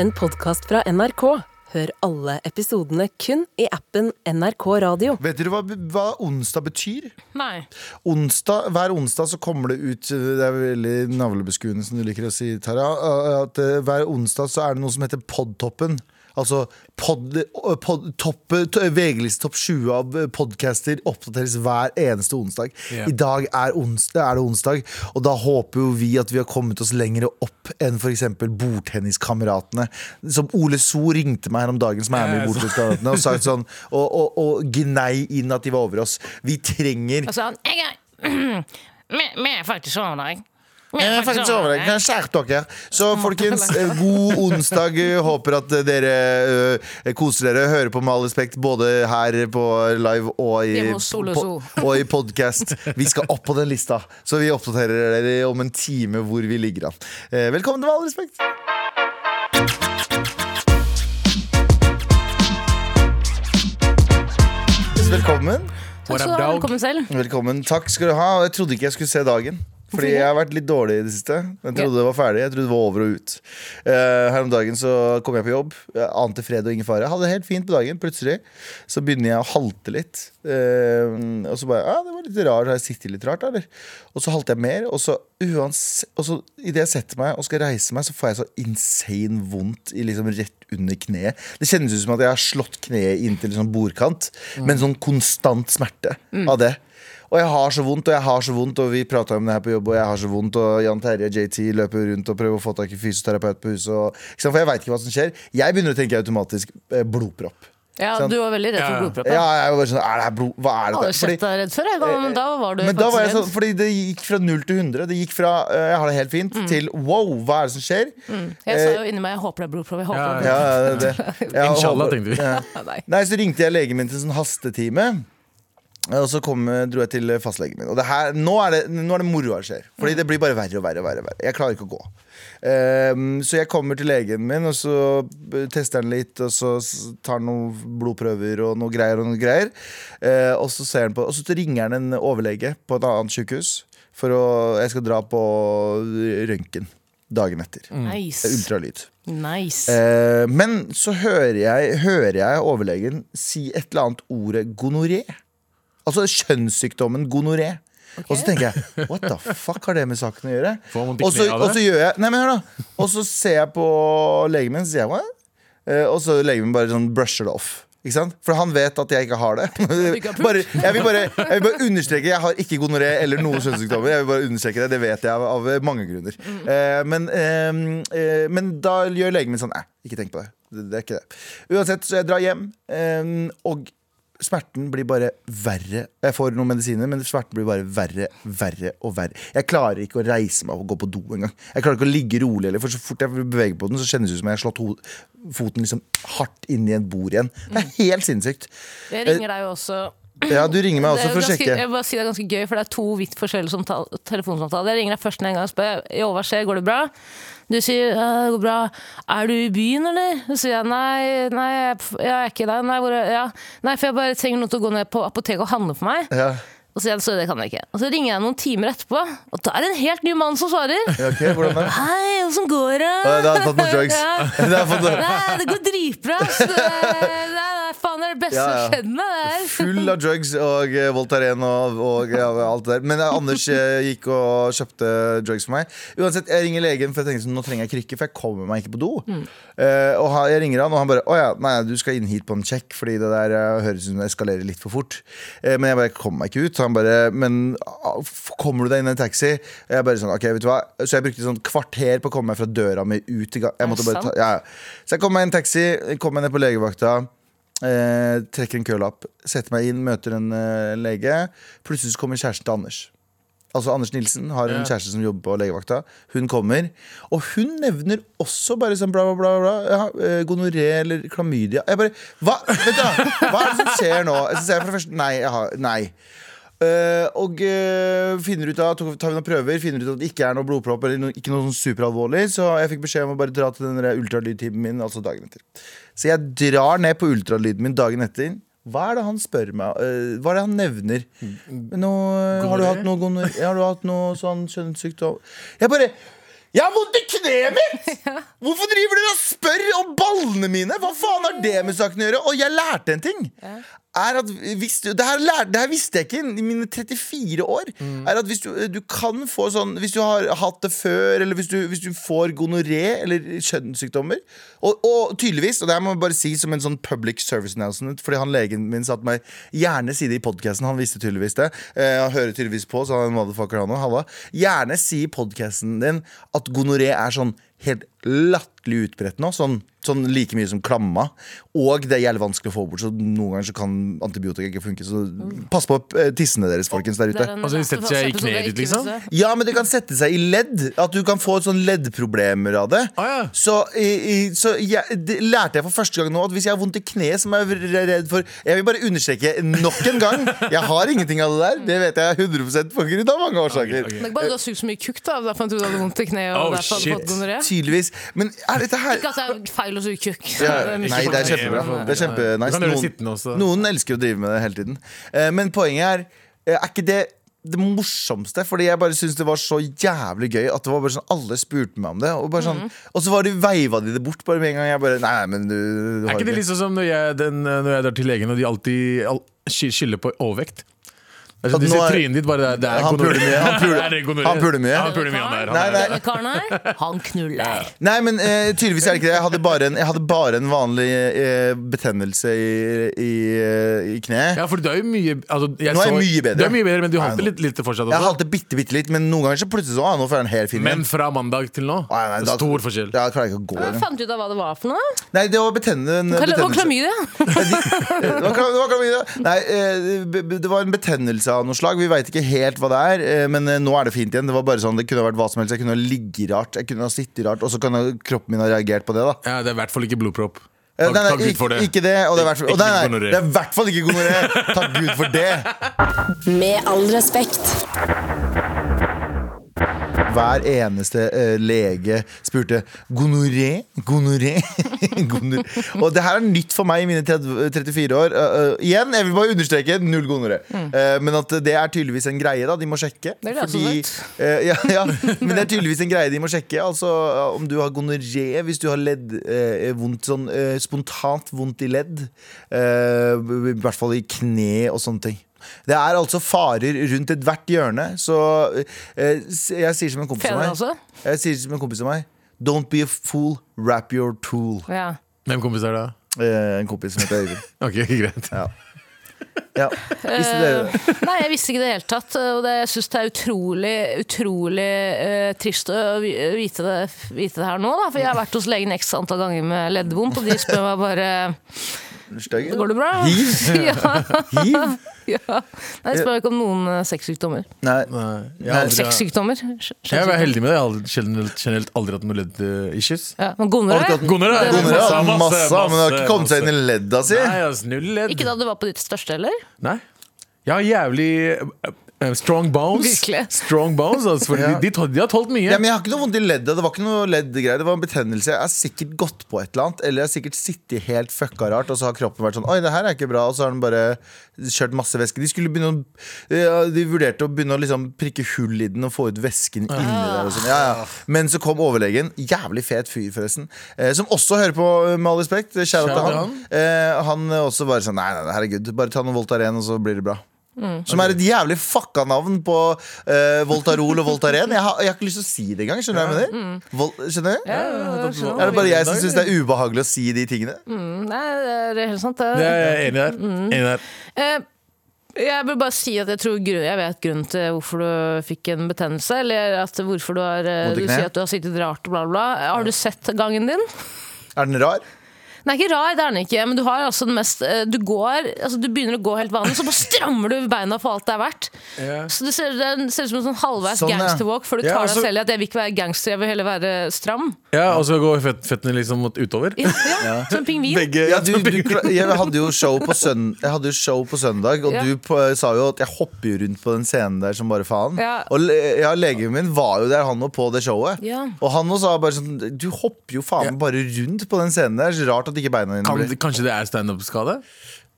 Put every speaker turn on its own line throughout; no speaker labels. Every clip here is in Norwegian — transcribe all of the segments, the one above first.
en podkast fra NRK. Hør alle episodene kun i appen NRK Radio.
Vet dere hva, hva onsdag betyr?
Nei.
Onsdag, hver onsdag så kommer det ut Det er veldig navlebeskuende, som du liker å si, Tara. At eh, hver onsdag så er det noe som heter Podtoppen. Altså pod, pod, topp, to- VG-liste topp 20 av eh, podcaster oppdateres hver eneste onsdag.
Ja.
I dag er, onsdag, er det onsdag, og da håper jo vi at vi har kommet oss lenger opp enn f.eks. Bordtenniskameratene. Som Ole So ringte meg her om dagen, som er med i
Ja, så-
Bordtenniskameratene, og sa sånn Og, og, og gnei inn at de var over oss. Vi trenger
Og så han Jeg er Vi vi er faktisk over deg. Vi
Jeg er Eh, faktisk over deg. Kan jeg skjerpe dere? Så folkens, eh, god onsdag. Eh, Håper at eh, dere eh, koser dere. Hører på Med all respekt både her på live og i,
Hjemme hos Sol og
po- og i podkast. Vi skal opp på den lista, så vi oppdaterer dere om en time hvor vi ligger an. Eh, Velkommen til Med all respekt. Velkommen.
Takk skal
What
du
up,
ha.
dog?
Velkommen selv.
Velkommen. Takk skal du ha. Og Jeg trodde ikke jeg skulle se dagen. Fordi jeg har vært litt dårlig i det siste. Jeg trodde det var ferdig. Jeg trodde det var over og ut. Eh, her om dagen så kom jeg på jobb. Jeg Ante fred og ingen fare. Hadde det helt fint på dagen. Plutselig så begynner jeg å halte litt. Eh, og så bare Ja, det var litt rart. Har jeg sittet litt rart, eller? Og så halter jeg mer. Og så uansett Og så idet jeg setter meg og skal reise meg, så får jeg så insane vondt i liksom rett under kneet. Det kjennes ut som at jeg har slått kneet inntil liksom bordkant, men sånn konstant smerte av det. Og jeg har så vondt, og jeg har så vondt, og vi prata om det her på jobb, og jeg har så vondt, og Jan Terje og JT løper rundt og prøver å få tak i fysioterapeut på huset, og, ikke sant? for jeg veit ikke hva som skjer. Jeg begynner å tenke automatisk eh, blodpropp.
Ja,
Sant.
du var veldig redd
Ja.
for blodpropp.
Sånn. Ja,
Ja.
jeg er jo bare sånn, er det her blod, hva er
Hadde
dette? Fordi- Eh,
sett deg redd før, jeg. da, men da var du
men da var jeg
faktisk
sånn,
redd.
fordi det gikk fra 0 til 100. Det gikk fra eh, 'jeg har det helt fint' til 'wow, hva er det som skjer'?
Jeg
eh,
sa jo inni meg 'jeg håper det er blodprøve'. Jeg håper
Ja,
det er
Ja, det, det. Ja, og-
Inshallah, tenkte vi.
Ja.
blodprøve. Nei.
Nei, så ringte jeg legen min til en sånn hastetime. Og så kom, dro jeg til fastlegen min. Og det her, nå, er det, nå er det moroa skjer. Fordi det blir bare verre og verre. og verre, og verre. Jeg klarer ikke å gå. Ehm, så jeg kommer til legen min, og så tester han litt. Og så s- tar han noen blodprøver og noe greier og noe greier. Eh, og, så ser han på, og så ringer han en overlege på et annet sykehus. For å, jeg skal dra på røntgen dagen etter.
Mm.
Nice.
Ultralyd.
nice.
Eh, men så hører jeg, hører jeg overlegen si et eller annet ordet gonoré. Altså kjønnssykdommen gonoré. Og så tenker jeg what the fuck har det med saken å gjøre?
Får man vondt i
Og så,
kneet av
og
det?
så gjør jeg Nei, men hør, da. Og så ser jeg på legen min, så sier jeg what? Eh, og så legen min bare sånn brusher det off. Ikke sant? For han vet at jeg ikke har det. bare, jeg, vil bare, jeg vil bare understreke Jeg har ikke gonoré eller noen kjønnssykdommer. Jeg vil bare understreke Det det vet jeg av, av mange grunner. Eh, men, eh, eh, men da gjør legen min sånn Nei, ikke tenk på det. det. Det er ikke det. Uansett, så jeg drar hjem, eh, og smerten blir bare verre. Jeg får noen medisiner, men smerten blir bare verre, verre og verre. Jeg klarer ikke å reise meg og gå på do engang. Jeg klarer ikke å ligge rolig heller, for så fort jeg beveger på den, så kjennes det ut som jeg har slått ho- foten liksom hardt inn i et bord igjen. Det er helt sinnssykt.
Jeg ringer deg jo også.
Ja, du ringer meg
Det er
også for å
ganske, jeg
sjekke.
vil bare si det er ganske gøy, for det er to vidt forskjellige samtale, telefonsamtaler. Jeg ringer deg først en gang og spør «Jo, hva skjer, går det bra. Du sier «Ja, det går bra. Er du i byen, eller? Så sier jeg nei, nei jeg er på- jeg er ikke der. Nei, hvor, er- ja. nei, for jeg bare trenger noen til å gå ned på apoteket og handle for meg.
Ja,
Og så sier jeg så det kan jeg ikke. Og så ringer jeg noen timer etterpå, og da er det en helt ny mann som svarer.
ja, ok, hvordan er det?
Hei, åssen går det?
Ja, Da har jeg fått noen drugs.
Ja.
Da har jeg fått noe-
Nei, det går dritbra. ass. Det, det, er- faen, det er det beste som
Ja,
har
ja.
skjedd meg. det her.
Full av drugs og eh, Voltaren og, og ja, alt det der. Men eh, Anders eh, gikk og kjøpte drugs for meg. Uansett, jeg ringer legen, for jeg tenker sånn, nå trenger jeg krykke, for jeg kommer meg ikke på do.
Mm.
Eh, og han- jeg ringer han, og han bare Å ja, nei, du skal inn hit på en sjekk, fordi det der eh, høres ut som det eskalerer litt for fort. Eh, men jeg bare kommer meg ikke ut. Så han bare Men ah, f- kommer du deg inn i en taxi? Og jeg bare sånn, ok, vet du hva Så jeg brukte sånn kvarter på å komme meg fra døra mi ut. i ga- Jeg måtte bare ta,
sant?
ja. ja. Så jeg kom meg i en taxi, kom meg ned på legevakta. Eh, trekker en kølapp, setter meg inn, møter en eh, lege. Plutselig så kommer kjæresten til Anders. Altså Anders Nilsen har en
Ja.
kjæreste som jobber på legevakta. Hun kommer, og hun nevner også bare sånn bla, bla, bla. bla ja, eh, gonoré eller klamydia. Jeg bare Hva Vent da, hva er det som skjer nå? Så sier jeg for det første nei. Jeg har, nei. Eh, og eh, finner ut av, tok- tar vi noen prøver Finner ut at det ikke er noe blodpropp Eller noe, ikke noe sånn superalvorlig Så jeg fikk beskjed om å bare dra til den der ultralydtimen min Altså dagen etter Så jeg drar ned på ultralyden min dagen etter Hva er det han spør meg? eh, hva er det han nevner? Nå, eh, har du hatt noe, gonoré? har du hatt noe sånn kjønnssykdom? Jeg bare Jeg har vondt i kneet mitt! Hvorfor driver dere og spør planene mine! Hva faen har det med saken å gjøre? Og jeg lærte en ting! Er at hvis du, det, her lær, det her visste jeg ikke i mine 34 år. Er at hvis du, du kan få sånn Hvis du har hatt det før, eller hvis du, hvis du får gonoré eller kjønnssykdommer og, og tydeligvis, og det her må jeg bare si som en sånn public service announcement, fordi han legen min satte meg gjerne si det i podkasten, han visste tydeligvis det. Eh, han hører tydeligvis på, så han er en motherfucker, han òg. Halla. Gjerne si i podkasten din at gonoré er sånn helt latterlig utbredt nå. Sånn, sånn like mye som klamma. Og det er jævlig vanskelig å få bort, så noen ganger så kan antibiotika ikke funke. Så pass på eh, tissene deres, folkens, der ute.
den
Altså, de
neste
setter seg i
episode jeg
kneet ditt,
ikke
liksom?
visste.
Ja, men det kan sette seg i ledd. At du kan få et sånn leddproblemer av det.
Ah, ja.
Så, i, i, så jeg, det lærte jeg for første gang nå at hvis jeg har vondt i kneet, så må jeg være redd for Jeg vil bare understreke nok en gang. Jeg har ingenting av det der. Det vet jeg 100 på grunn av mange årsaker.
Ok, ok.
Men ikke bare du har sugd så mye kukk, da. Derfor jeg trodde du hadde vondt i kneet. Og
Oh,
derfor hadde
shit.
fått gonoré.
Tydeligvis. Men er dette her
Ikke at det er feil å suge kukk.
ja,
Det er
nei,
mye
det er
forskjellig.
kjempebra.
men-
Det er
Du
kjempenice.
kan gjøre det sittende også.
noen elsker å drive med det hele tiden. Eh, Men poenget er eh, Er ikke det det morsomste? Fordi jeg bare syns det var så jævlig gøy at det var bare sånn alle spurte meg om det. Og, bare sånn, og så var de veiva de det bort bare med en gang. Jeg bare, nei, men du, du
Er
har
ikke det
ikke-
litt sånn som når jeg, den, eh, når jeg drar til legen, og de alltid all, sky- skylder på overvekt? Det er
At
sånn,
nå
de ser
er-
trynet ditt bare det er- Det er
Han
gonoré.
puler mye, han puler-
Det er gonoré.
han puler mye.
Ja, Han puler mye, han der. Han
Nei,
er-
nei.
Denne karen her, han knuller.
Nei, men eh, tydeligvis er det ikke det. Jeg hadde bare en, jeg hadde bare en vanlig eh, betennelse i, i, eh, i kneet.
Ja, for du er jo mye altså, jeg
Nå er jeg
så-
mye bedre.
Du er mye bedre, Men du
Nei,
holdt
nå-
det litt, litt fortsatt
Jeg
også.
hadde bitte, bitte litt, men noen ganger så plutselig så, ah, nå får jeg en helt fin
altså- Men
en.
fra mandag til
Nei,
nå?
nei,
det
da-
er stor forskjell.
Ja, jeg klarer ikke å gå
Jeg
engang.
fant ut av hva det var for noe.
Nei, det var betennelse.
Kall- Og klamydia.
Det var, klam- det var klamydia. Nei, eh, b- b- det var en betennelse av noe slag. Vi veit ikke helt hva det er, eh, men eh, nå er det fint igjen. Det var bare sånn, det kunne ha vært hva som helst. Jeg kunne ha ligget rart, jeg kunne ha sittet rart, og så kan ha- kroppen min ha reagert på det. da
Ja, det er i hvert fall ikke blodpropp.
Eh,
Takk,
nei,
takk
nei,
Gud for
ikke,
det.
ikke det. Og det er i hvert fall- og
Ikke
nei, nei,
gonoré.
det er i hvert fall ikke gonoré. Takk Gud for det.
Med all respekt.
Hver eneste eh, lege spurte gonoré, gonoré, gonoré. Og det her er nytt for meg i mine 30, 34 år. Eh, eh, igjen, jeg vil bare understreke null gonoré. Eh, men at det er tydeligvis en greie, da. De må sjekke.
Mm. Det er det altså
eh, ja, ja, men det er tydeligvis en greie de må sjekke. Altså eh, om du har gonoré, hvis du har ledd, eh, vondt, sånn, eh, spontant vondt i ledd. eh, I hvert fall i kne og sånne ting. Det er altså farer rundt ethvert hjørne, så eh, s- jeg sier som en kompis av
Fedre
meg
også.
Jeg sier som en kompis av meg Don't be a fool, wrap your tool.
Ja.
Hvem kompis er det? da?
Eh, en kompis som heter Øyvind.
Ok, greit.
Ja, visste dere det?
Eh, Nei, jeg visste ikke det i det hele tatt. eh, Og det, jeg syns det er utrolig utrolig eh, trist å vi- vite det, vite det her nå, da. For jeg har vært hos legen x antall ganger med leddvondt, og de spør meg bare
Støgg? eller?
Eh, Går det bra? ja,
Hiv?
ja. Nei, jeg spør ikke om noen eh, sexsykdommer.
Nei.
Nei, jeg,
Nei,
har aldri, jeg,
Sexsykdommer? Sj-
er heldig med det. Jeg har aldri- generelt, generelt aldri hatt noe eh, ledd-issues.
Ja, men gonoré?
Har du ikke hatt-
Gonoré er
Gonoré har masse, men det har ikke kommet seg inn
masse.
i ledda si.
Nei, altså, null ledd.
Ikke da du var på ditt største heller?
Nei. Jeg har jævlig eh, eh, strong bones.
Virkelig.
Strong bones, altså, for
Ja.
de, de, tål- de har tålt mye.
Ja, men Jeg har ikke noe vondt i leddet. Det var ikke noe leddgreier. Det var en betennelse. Jeg har sikkert gått på et eller annet, eller jeg har sikkert sittet helt fucka rart, og så har kroppen vært sånn Oi, det her er ikke bra, og så har den bare kjørt masse væske. De skulle begynne å ja, De vurderte å begynne å liksom prikke hull i den og få ut væsken inni der og sånn. Ja, ja. Men så kom overlegen, jævlig fet fyr forresten, eh, som også hører på, med all respekt, kjære til
Shout out
han. Eh, han eh, også bare sånn Nei, nei, nei, herregud, bare ta noen Voltaren, og så blir det bra. Som er et jævlig fucka navn på eh, Voltarol og Voltaren. Jeg har, jeg har ikke lyst til å si det engang. Skjønner du hva jeg mener? Vol skjønner du?
sånn.
Er det bare jeg som syns Mm. det er ubehagelig å si de tingene?
Mm, Nei, det er helt sant.
Det er jeg enig der. Enig der.
Eh, Jeg vil bare si at jeg tror grunn, jeg vet grunnen til hvorfor du fikk en betennelse. Eller at hvorfor du har eh,
Vondt i
Du
kneet?
sier at du har sittet rart og bla, bla. Har du sett gangen din?
Er den rar?
Den er ikke rar, det er den ikke. Men du har altså den mest eh, Du går altså Du begynner å gå helt vanlig, så bare strammer du beina for alt det er verdt. Så det ser, det ser ut som en sånn halvveis
Sånn, ja.
gangsterwalk før du
Ja,
tar
altså-
deg selv i at jeg vil ikke være gangster, jeg vil heller være stram.
Ja, og så går fett, fettene liksom mot utover.
Ja, ja, Som en pingvin.
Begge
Ja, du, du, kla- jeg hadde jo show på, søn, jeg hadde jo show på søndag, og
Ja.
du på, sa jo at jeg hopper jo rundt på den scenen der som bare faen.
Ja.
Og le, ja, legen min var jo der, han òg, på det showet.
Ja.
Og han òg sa bare sånn Du hopper jo faen meg bare rundt på den scenen der. Så rart at ikke beina dine
kan,
blir
Kanskje det er standup-skade?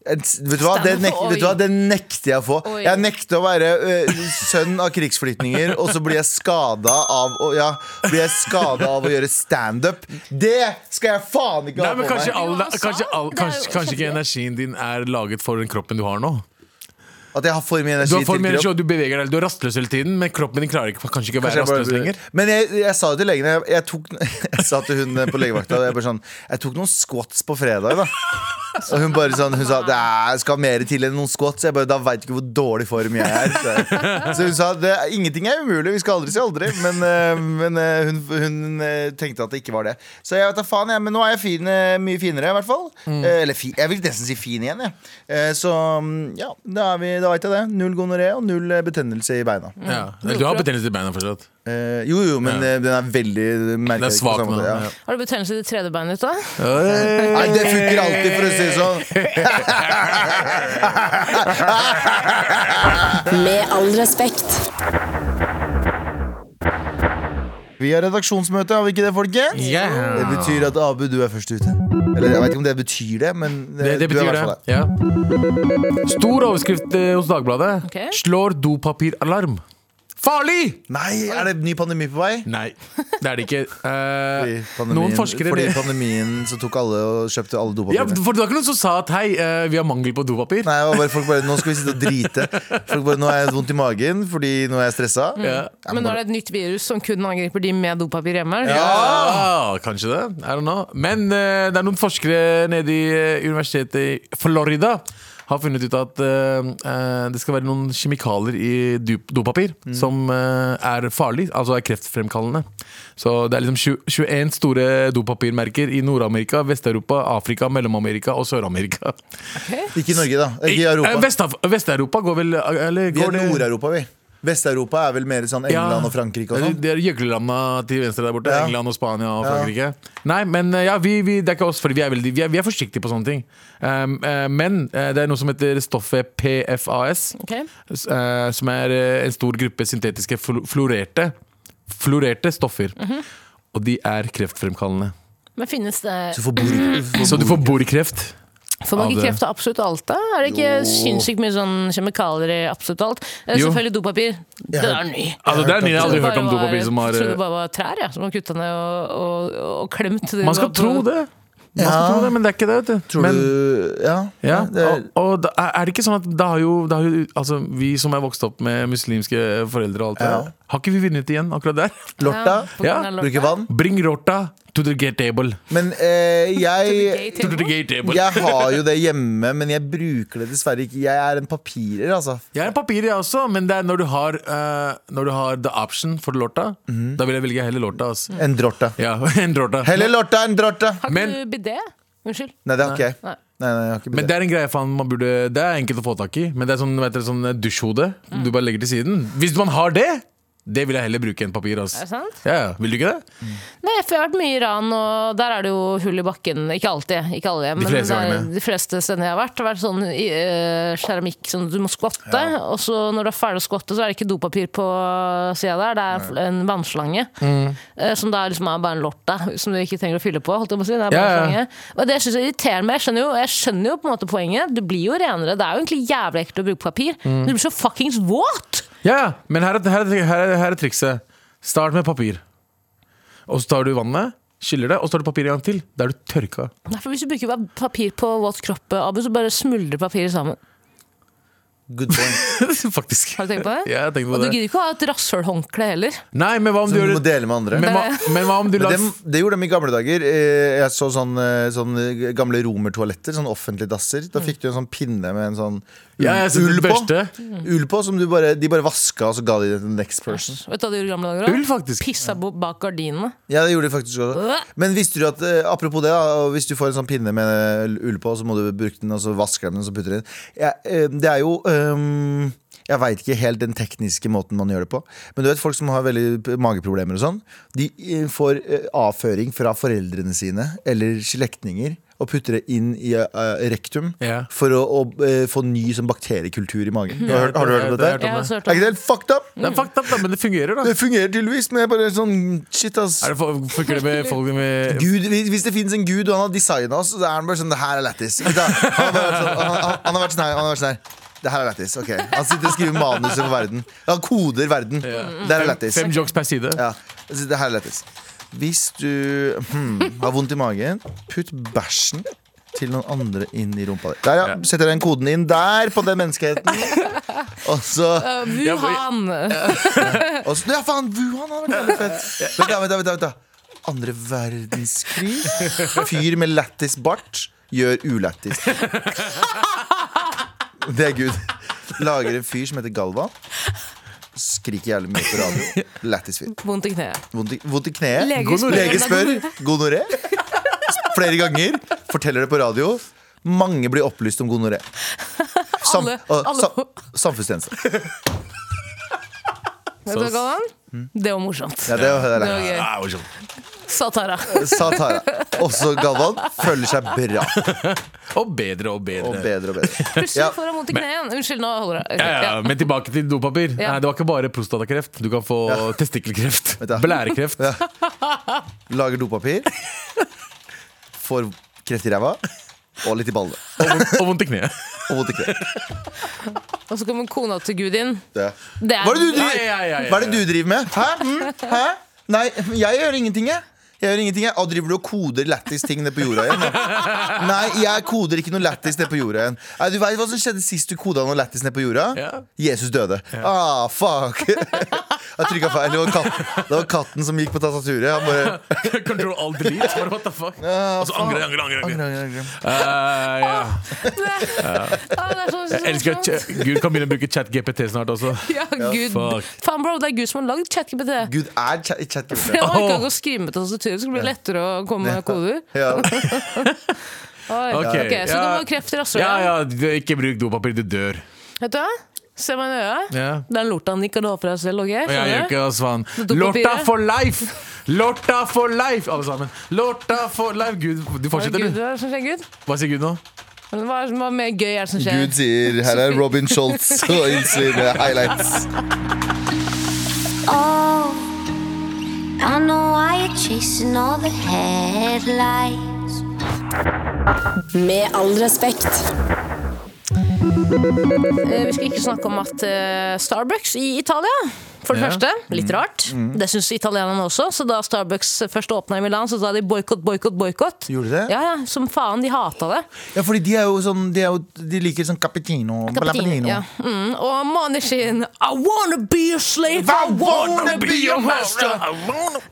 En s- Vet du hva, det, nek
Oi.
vet du hva? det nekter jeg å få.
Oi.
Jeg nekter å være ø, sønn av krigsflyktninger, og så blir jeg skada av, å- ja, blir jeg skadet av å gjøre standup. Det skal jeg faen ikke
Nei,
ha
men
på
kanskje,
meg!
all,
Jo, han sa
kanskje, all,
det. Det er
kanskje,
jo
kanskje ikke
kjempe-
energien din er laget for den kroppen du har nå.
At jeg har for mye
Du
energi
har for
til
mye energi,
kropp.
og du beveger deg, du er rastløs hele tiden, men kroppen din klarer ikke, kanskje ikke
Kanskje
å være
jeg bare-
rastløs lenger.
Men jeg, jeg sa det til legen. Jeg, jeg, tok, jeg sa til hun på legevakta jeg, bare sånn, jeg tok noen squats på fredag. da og hun bare sånn, hun sa det er- skal mer til enn noen squats. Jeg bare, da veit du ikke hvor dårlig form jeg er. Så, så hun sa det, er- ingenting er umulig, vi skal aldri si aldri. Men, eh, men eh, hun, hun eh, tenkte at det ikke var det. Så jeg vet da faen, jeg. Men nå er jeg fin, eh, mye finere, i hvert fall.
Mm.
Eh, Eller fi, jeg vil nesten si fin igjen, jeg. Eh, Så mm, ja, da, er vi- da veit jeg det. Null gonoré og null eh, betennelse i beina.
Ja.
Mm.
Du har betennelse i beina fortsatt.
Eh, jo, jo, men
Ja.
eh, den er veldig merkelig.
Den er svak nå.
Ja.
Ja.
Har du betennelse i det tredje beinet ditt, da?
Nei, det funker alltid, for å si det sånn.
Med all respekt.
Vi har redaksjonsmøte, har vi ikke det, folkens?
Yeah.
Det betyr at Abu, du er først ute. Eller jeg vet ikke om det betyr det, men eh,
Det, det
du er i
betyr
hvert
det.
fall der.
Ja. Stor overskrift eh, hos Dagbladet.
Ok.
Slår dopapiralarm. Farlig!
Nei, er det ny pandemi på vei?
Nei, det er det ikke.
Fordi
Eh,
pandemien-
noen forskere
Fordi pandemien så tok alle og kjøpte alle
ja,
dopapirene.
for Det var ikke noen som sa at hei, eh, vi har mangel på dopapir.
Nei, det var bare, folk bare, Nå skal vi sitte og drite. Folk bare, Nå har jeg vondt i magen fordi nå er jeg stressa.
Ja.
Jeg må
Men nå
bare-
er det et nytt virus som kun angriper de med dopapir hjemme. er det ikke?
Ja, kanskje det. I don't know. Men eh, det er noen forskere nede i eh, universitetet i Florida har funnet ut at eh, eh, det skal være noen kjemikalier i dup- dopapir
Mm.
som eh, er farlig, altså er kreftfremkallende. Så det er liksom tju- 21 store dopapirmerker i Nord-Amerika, Vest-Europa, Afrika, Mellom-Amerika og Sør-Amerika.
Ikke i Norge, da. Ikke i
Eh,
Europa.
Vestaf- Vest-Europa går vel eh, eller,
Vi
går
er
det-
Nord-Europa, vi. Vest-Europa er vel mer sånn
Ja.
England og Frankrike og sånn.
Det er gjøglelanda til venstre der borte.
Ja.
England og Spania og
Ja.
Frankrike. Nei, men eh, ja, vi, vi, det er ikke oss, for vi er, veldig, vi er, vi er forsiktige på sånne ting. Um, eh, men eh, det er noe som heter stoffet PFAS,
Ok.
s- eh, som er eh, en stor gruppe syntetiske flu- fluorerte, fluorerte stoffer.
Mhm.
Og de er kreftfremkallende.
Men finnes det
Så får bor-
Så du får borikreft.
Får man
av
ikke
det.
kreft av absolutt alt, da? Er det ikke sinnssykt mye sånn kjemikalier i absolutt alt? Eh,
Jo.
Selvfølgelig dopapir. Det er ny.
Altså, det er ny, jeg har aldri
Jeg
hørt om
bare var-
dopapir som har
Jeg trodde det
eh,
bare var trær ja, som var kutta ned og, og, og klemt. Det
Man skal
var på-
tro det. Man skal
Ja.
tro det, men det er ikke det. vet du.
Tror
Men,
du Ja.
Ja,
det er,
og, og da, er- er det ikke sånn at da har jo, da har jo altså, Vi som er vokst opp med muslimske foreldre og alt det
Ja.
der, har ikke vi vunnet igjen akkurat der?
Lorta.
på grunn av
Ja.
lorta.
Bruker vann.
Bring rorta to the gate table.
Men eh, jeg
Gay
To the
table.
gate table.
jeg har jo det hjemme, men jeg bruker det dessverre ikke. Jeg er en papirer, altså.
Jeg er papir, jeg også, men det er når du har, eh, når du har the option for lorta,
Mhm.
da vil jeg velge heller lorta. ass.
En drorta.
Ja, en rorta.
Heller lorta enn drorta!
Har ikke
Men-
du bidé? Unnskyld.
Nei, det har ikke jeg. Nei,
Nei.
nei, jeg har ikke blitt
Men det
det.
er en greie faen, man burde, det er enkelt å få tak i. Men det er sånn, vet dere, sånn dusjhode
Mm.
du bare legger til siden. Hvis man har det, det vil jeg heller bruke enn papir. ass.
Er det sant?
Ja, ja. Vil du ikke det?
Nei, for jeg har vært mye i Iran, og der er det jo hull i bakken. Ikke alltid, ikke alle hjem,
De fleste
men det er-
gangene.
de fleste stedene jeg har vært, har vært sånn i, eh, keramikk, sånn du må skvatte. Og så når du er ferdig å skvatte, så er det ikke dopapir på sida der, det er fl- en vannslange.
Mm.
eh, Som da liksom er bare en lorta, som du ikke trenger å fylle på. Holdt jeg på å si. Det er bare
Ja,
en
ja.
slange. Og det synes jeg irriterer meg. Jeg skjønner, jo, jeg skjønner jo på en måte poenget. Du blir jo renere. Det er jo egentlig jævlig ekkelt å bruke papir.
Mm.
Du blir så fuckings våt!
Ja, ja, men her er, her, er, her, er, her er trikset. Start med papir. Og så tar du vannet, skyller det, og så tar du papir en gang til. Da er du tørka.
Nei, for hvis du bruker bare papir på våt kropp, Abu, så bare smuldrer papiret sammen.
Good point.
Faktisk.
Har du tenkt på det?
Ja, jeg tenkte på
Og du
det.
gidder ikke å ha et rasshølhåndkle heller.
Nei, men hva om
Så
du
du
gjør
må dele med andre.
men, hva, men hva om du
Men
lar
det, det gjorde de i gamle dager. Eh, Jeg så sånn, eh, sånn eh, gamle romertoaletter. Sånn offentlige dasser. Da fikk du en sånn pinne med en sånn ull,
Ja, jeg synes
ull
det
på.
beste.
Ull på som du bare, de bare vaska, og så ga de det til the next person.
Vet du hva de gjorde i gamle dager? da?
Ull, faktisk.
Pissa bo- bak gardinene.
Ja, det gjorde de faktisk også. Men visste du at, eh, apropos det, da, og hvis du får en sånn pinne med ull på, så må du bruke den, og så vasker den, og så putter den ja, eh, Det er jo ehm, Jeg veit ikke helt den tekniske måten man gjør det på. Men du vet folk som har veldig p- mageproblemer og sånn, de eh, får eh, avføring fra foreldrene sine eller slektninger. Og og putter det inn i eh, rektum
Ja.
for å, å eh, få ny sånn, bakteriekultur i magen. Du har, hørt- har du hørt om
Det har jeg
dette?
hørt om.
Jeg har også hørt
Er
om
ikke det helt fucked up?
Det er fucked up, da, men det fungerer, da.
Det fungerer tydeligvis, men jeg bare sånn Shit, ass.
Er det for, funker det med folk med
Gud, hvis hvis det finnes en gud, og han har designa oss, så er han bare sånn Det her er lættis. Ikke sant? Han, har bare vært sånn- han, han- han har vært sånn her. Han har vært sånn her. Det her er lættis. Ok. Han sitter og skriver manuset for verden. Han koder verden. Det her er lættis.
fem jokes per side?
Ja. Altså, Det her er lættis. Hvis du hmm, har vondt i magen, putt bæsjen til noen andre inn i rumpa di. Der, ja.
Ja.
Setter den koden inn der på den menneskeheten. Og så
Eh,
Ja,
Wuhan!
og så, ja, faen, Wuhan hadde vært veldig fett. Vent, da, vent, da, vent, da, vent, da. Andre verdenskrig. Fyr med lættis bart gjør ulættis. Det er Gud. Lager en fyr som heter Galvan. Skriker jævlig mye på radio. Lættis fyr.
Vondt i kneet.
Vondt i, vondt i kneet.
Leger spør.
Lege spør. Gonoré. Flere ganger. Forteller det på radio. Mange blir opplyst om gonoré. Sam,
Alle-
og
alle-
sam, samfunnstjeneste.
Vet du hva, Galvan?
Mm.
Det var morsomt.
Ja, det, det er
Det
det.
var gøy.
Ah, morsomt.
Sa Tara.
sa Tara. Også Galvan føler seg bra.
og bedre og bedre.
Og bedre og bedre.
Plutselig
Ja,
får han vondt i kneet igjen. Unnskyld, nå holder det.
Ja, ja, men tilbake til dopapir.
Ja.
Nei, det var ikke bare prostatakreft. Du kan få testikkelkreft,
Vet du.
blærekreft.
lager dopapir. Får kreft i ræva. Og litt i ballene.
Og, vondt- og vondt i kneet.
Og vondt i kneet.
Og så kommer kona til Gud inn.
Det.
Det er
Hva er det du
Ja, ja, ja,
driver,
ja.
hva er det du driver med? Hæ? Mm? Hæ? Nei, jeg gjør ingenting, jeg. Jeg gjør ingenting, jeg. Og driver du og koder lættis ting ned på jorda igjen? nå? Nei, jeg koder ikke noe lættis ned på jorda igjen. Nei, du veit hva som skjedde sist du koda noe lættis ned på jorda?
Ja.
Jesus døde. Ah, fuck. Jeg trykka feil. Det var, katten, det var katten som gikk på tastaturet. Han bare
Control alt delete. Bare what the fuck. Og så angrer, angrer, angrer. angrer. Eh, ja.
Ja, det er så, så,
Jeg elsker at
morsomt.
ch- Gud kan begynne å bruke ChatGPT snart også.
Ja, Gud.
Fuck.
Faen, bro, det er Gud som har lagd ChatGPT.
Gud er chat- i chat.
Jeg orker ikke å skrive med tastaturet, så det blir lettere å komme med koder.
Ja.
Oi.
Ok,
Ok, så
ja.
det var kreft i
Ja,
rasshølet.
ja, du- ikke bruk dopapir, du dør.
Vet du hva? Se meg i øya.
Ja.
Den lorta han ikke kan ha for deg selv, OK?
Og jeg gjør
Skjønner du?
ikke oss faen.
Dopapiret.
Lorta for life! Lorta for life, alle sammen. Lorta for life. Gud, du
Hva er det
fortsetter,
Gud,
du.
hva er det som skjer, Gud?
Hva sier Gud nå?
Men Hva er det som er mer gøy er det som skjer?
Gud sier her er Robin Schultz og Insulin med highlights.
Oh, I know why you're chasing all the headlights.
Med all respekt.
Eh, Vi skal ikke snakke om at eh, Starbucks i Italia for det
Ja. Mm.
første, litt rart.
Mm.
Det syns italienerne også. Så da Starbucks først åpna i Milan, så sa de boikott, boikott, boikott.
Gjorde de det?
Ja, ja, som faen. De hata det.
Ja, fordi de er jo sånn De, er jo, de liker sånn cappuccino.
Cappuccino, ja. mm. Og Manishin I wanna be a slave, I wanna be your master!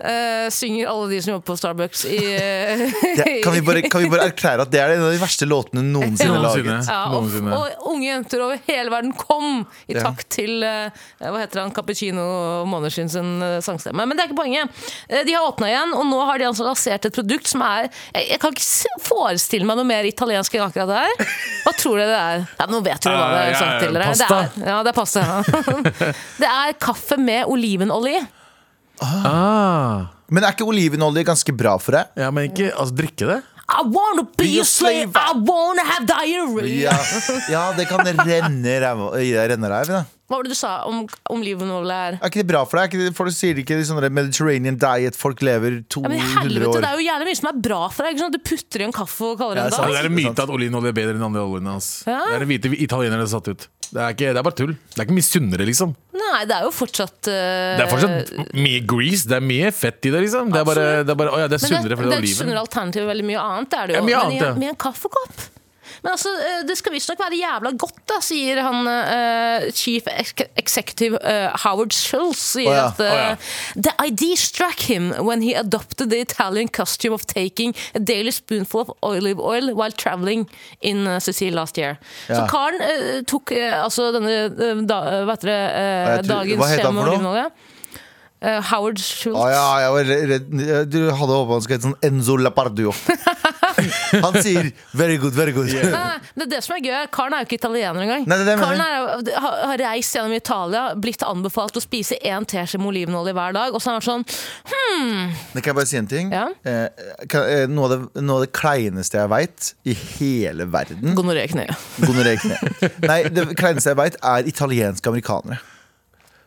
Eh, synger alle de som jobber på Starbucks i eh,
Det, kan, vi bare, kan vi bare erklære at det er en av de verste låtene noensinne
Noensinne.
laget?
Ja, og,
Noensinne.
og unge jenter over hele verden kom i
Ja.
takt til eh, hva heter han, Cappuccino Måneskinn sin eh, sangstemme. Men det er ikke poenget. Eh, de har åpna igjen, og nå har de altså lansert et produkt som er Jeg, jeg kan ikke se- forestille meg noe mer italiensk enn akkurat det her. Hva tror dere det er? Ja, nå vet dere hva det
Eh,
er.
ja,
sagt til dere. Det
pasta.
er, ja, det er pasta. ja. det er kaffe med olivenolje.
Ah.
Men er ikke olivenolje ganske bra for deg?
Ja, men ikke altså, drikke det?
I wanna be,
Be a
a slave,
slave.
I wanna have diarrhea.
Ja, ja det kan renne ræva i deg. renner ræv, da.
Hva var det du sa om, om olivenolje er?
Er ikke det bra for deg? Er ikke det, folk sier ikke sånn der Mediterranean diet, folk lever
Ja, men
200 Mm,
helvete,
år.
det er jo jævlig mye som er bra for deg. Ikke sant? Du putter i en kaffe og kaller
Ja,
det en
sant.
Det
dag.
er en myte at oljeolje er bedre enn andre oljene hans.
Ja.
Det er en hvite italienere satt ut. Det er, ikke, det er bare tull. Det er ikke mye sunnere, liksom.
Nei, det er jo fortsatt eh,
Det er fortsatt mye grease, det er mye fett i det, liksom. Det er bare, det er bare, å ja, det er
men
sunnere
det,
fordi det er
er et
oliven.
sunnere alternativ til veldig mye annet. Er det jo.
Ja, mye
men
annet,
i-
ja.
Med en kaffekopp. Men altså, eh, det skal visstnok være jævla godt, da, sier han eh, chief ex- executive eh, Howard Schultz. Sier
Å ja,
at eh,
å
The idea struck him when he adopted the Italian costume of taking a daily spoonful of olive oil while traveling in eh, Sicily last year. Så
Ja.
karen eh, tok eh, altså denne eh, da, eh, hva heter det, eh,
Jeg tror-
dagens
hva heter han for
skjema
noe?
olivenolje. Eh, Howard Schultz.
Å ja, jeg var redd Du hadde håpet han skulle hete sånn Enzo Lapardio. han sier 'very good, very good'.
Nei, Ah, det er det som er gøy. Karen er jo ikke italiener engang.
Nei, det er det jeg
Karen er,
mener.
jo- har, har reist gjennom Italia, blitt anbefalt å spise én teskje med olivenolje hver dag, og så er han sånn
Men kan jeg bare si en ting?
Ja.
Eh, kan, eh, noe, av det, noe av det kleineste jeg veit i hele verden
Gonoré i kneet.
Gonoré i kne. Nei, det kleineste jeg veit, er italienske amerikanere.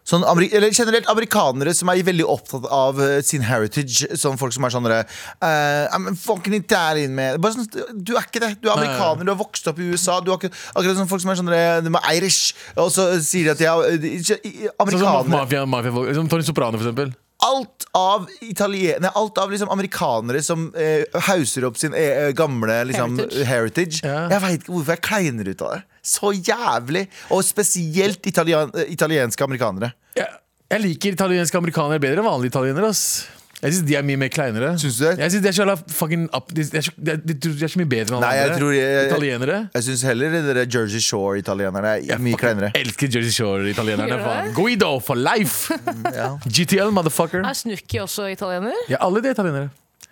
Sånn, ameri eller generelt amerikanere som er veldig opptatt av eh, sin heritage. Som folk som er sånn derre eh, I'm a fucking Italian man. Bare sånn, du er ikke det. Du er amerikaner, du har vokst opp i USA. Du har ikke, akkurat som folk som er sånn derre De er irish, og så sier de at de er eh, de- ikke- i-
Sånn som
Amerikanere.
mafia, mafia, som Tony Soprano, for eksempel.
Alt av italien- nei, alt av liksom amerikanere som eh, hauser opp sin eh, eh, gamle liksom,
Heritage.
heritage.
Ja.
Jeg veit ikke hvorfor jeg kleiner ut av det. Så jævlig! Og spesielt italian, eh, italienske amerikanere.
Jeg, jeg liker italienske amerikanere bedre enn vanlige italienere. ass jeg syns de er mye mer kleinere.
Syns du det?
Jeg synes De er så jævla fucking up De de er så, de er, de tror de er så mye bedre enn alle
Nei, jeg
andre.
tror jeg-
Italienere.
Jeg syns heller de der Jersey Shore-italienerne er
Jeg
mye
fucking
kleinere.
elsker Jersey Shore-italienerne.
Gjør du
faen.
det?
Guido for life!
Mm,
GTL, motherfucker.
Er Snooki også italiener?
Ja, alle de er italienere.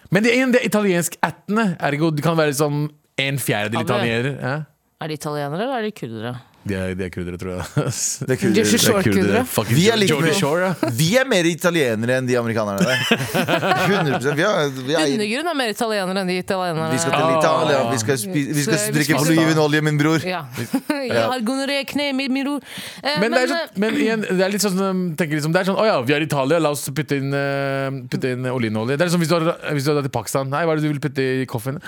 Men det ene det er italiensk-ættene. Ergo de kan være som en fjerdedel
Ja, det-
italienere. Ja.
Er de italienere, eller er de kurdere?
De er, de er kurdere, tror jeg.
Det er kul-
Jersey
det er kul-
Shore-kurdere.
Fucking
Vi er litt
Jersey
mer-
Shore, ja.
Vi er mer italienere enn de amerikanerne der. 100% Vi, er, vi, er,
Undergrunn er mer italienere enn de italienerne.
vi skal til Italia, vi skal, spi, vi skal drikke olivenolje, min bror.
ja. Jeg har gonoré i kneet, min miro. Eh,
Men, det er,
eh,
sånn, men igjen, det er litt sånn um, tenker liksom, Det er sånn, å ja, vi er i Italia, la oss putte inn, eh, putte inn olivenolje. Det er sånn hvis du har- hvis du har dratt til Pakistan. Nei, hva er det du vil putte i koffen?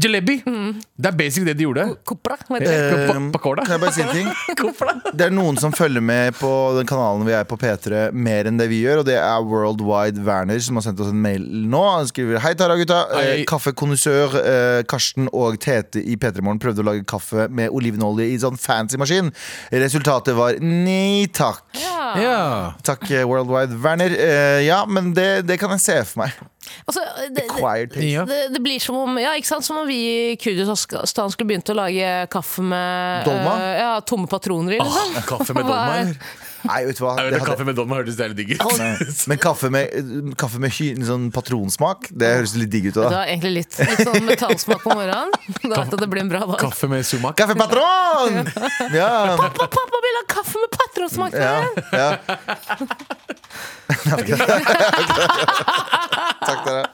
Jalebi! Det er basic det de gjorde.
Kopra, vet du.
Eh,
Pa- pakora.
Kan jeg bare si en ting? Det er noen som følger med på den kanalen vi er på P3 mer enn det vi gjør, og det er Worldwide Werner som har sendt oss en mail nå. Han skriver Hei Tara gutta.
Hei.
Eh, Kaffekonnissør eh, Karsten og Tete i P3 Morgen prøvde å lage kaffe med olivenolje i sånn fancy maskin. Resultatet var nei takk.
Ah.
Ja.
Ja.
Takk, eh, Worldwide Werner. Eh, ja, men det, det kan jeg se for meg.
Altså, det, det,
Quiet taste.
ja.
Det, det blir som om, ja, ikke sant? som om vi i Kurdistan skulle begynt å lage kaffe med
Dolma?
eh, ja, tomme patroner i. Liksom.
Ah, kaffe med dolma. eller?
Nei, vet du hva. Det
Jeg vet at
hadde-
Kaffe med dolma hørtes jævlig digg ut.
Nei. Men kaffe med, kaffe med hy, sånn patronsmak, det høres litt digg ut.
Det
da
var egentlig litt, litt sånn metallsmak på morgenen. Da vet jeg at det blir en bra dag.
Kaffe med sumak.
Kaffe patron! Ja.
Pappa, pappa vil ha kaffe med patronsmak!
Ja,
Ja.
ja. Takk dere.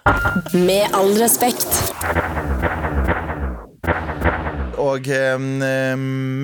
Med all respekt.
Og em, em,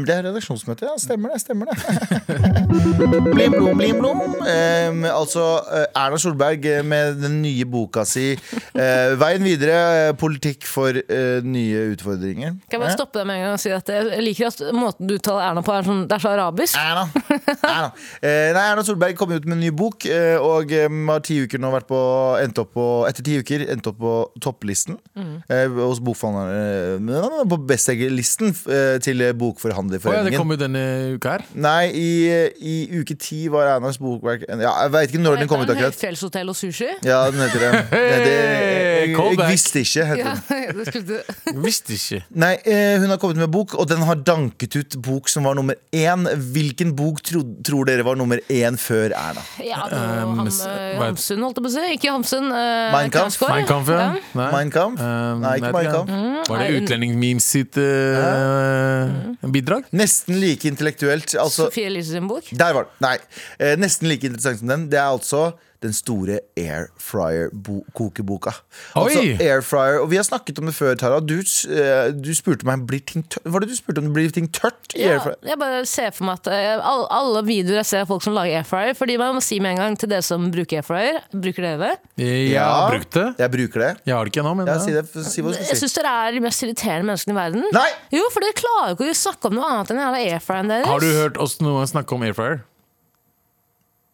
det er redaksjonsmøte, ja. Stemmer det. stemmer det Blim, blom, blim, blom. Em, altså eh, Erna Solberg eh, med den nye boka si eh, 'Veien videre. eh, Politikk for eh, nye utfordringer'.
Kan jeg bare stoppe deg med en gang og si at jeg liker at måten du uttaler Erna på, er sånn, det er så arabisk.
Erna. Erna. Eh, nei, Erna Solberg kom ut med en ny bok, eh, og eh, har ti uker nå vært på, endt opp på, etter ti uker endt opp på topplisten
Mm.
eh, hos bokforhandlerne eh, På bestselgerlisten eh, til eh,
Å ja, det
Bokforhandlerforeningen.
kom jo denne uka her.
Nei, i, eh, i uke ti var Ernas bokverk ja, Jeg veit ikke når den kom ut akkurat.
Høyfjellshotell og sushi.
Ja, den heter det. Nei, det jeg, jeg, jeg
callback.
visste ikke, heter
Ja,
den.
det skulle du.
Visste ikke.
Nei, eh, hun har kommet med bok, og den har danket ut bok som var nummer én. Hvilken bok tro, tror dere var nummer én før Erna?
Ja, det var
Um,
ham,
s-
eh,
hva-
Hamsun, holdt jeg på å si. Ikke Hamsun. eh,
Mein Kampf.
Knausgård.
Mein Kampf, ja. Mm. Nei.
Mein Kampf?
Um,
Nei,
jeg
ikke
vet
Mein
ikke.
Kampf.
Mm.
Var det utlendingmemes sitt eh, bidrag?
Nesten like intellektuelt. Altså,
Sofie Elise sin bok.
der var den. Nei. Eh, nesten like interessant som den. Det er altså den store air fryer-kokeboka. Altså
Oi!
air fryer, og Vi har snakket om det før, Tara. Du, s- eh, du spurte meg blir ting tørt? Var det du spurte om det blir ting tørt i air
Ja,
fryer?
jeg bare ser for meg at eh, alle, alle videoer jeg ser av folk som lager airfryer Fordi man må si med en gang til dere som bruker airfryer Bruker dere det?
Jeg har brukt det.
Jeg bruker det.
Jeg har det ikke ennå, men
Ja,
ja.
si, det. F- si hva du
Jeg
skal si.
syns dere er de mest irriterende menneskene i verden.
Nei!
Jo, for dere klarer jo ikke å snakke om noe annet enn jævla airfryeren deres.
Har du hørt oss noen gang snakke om air fryer?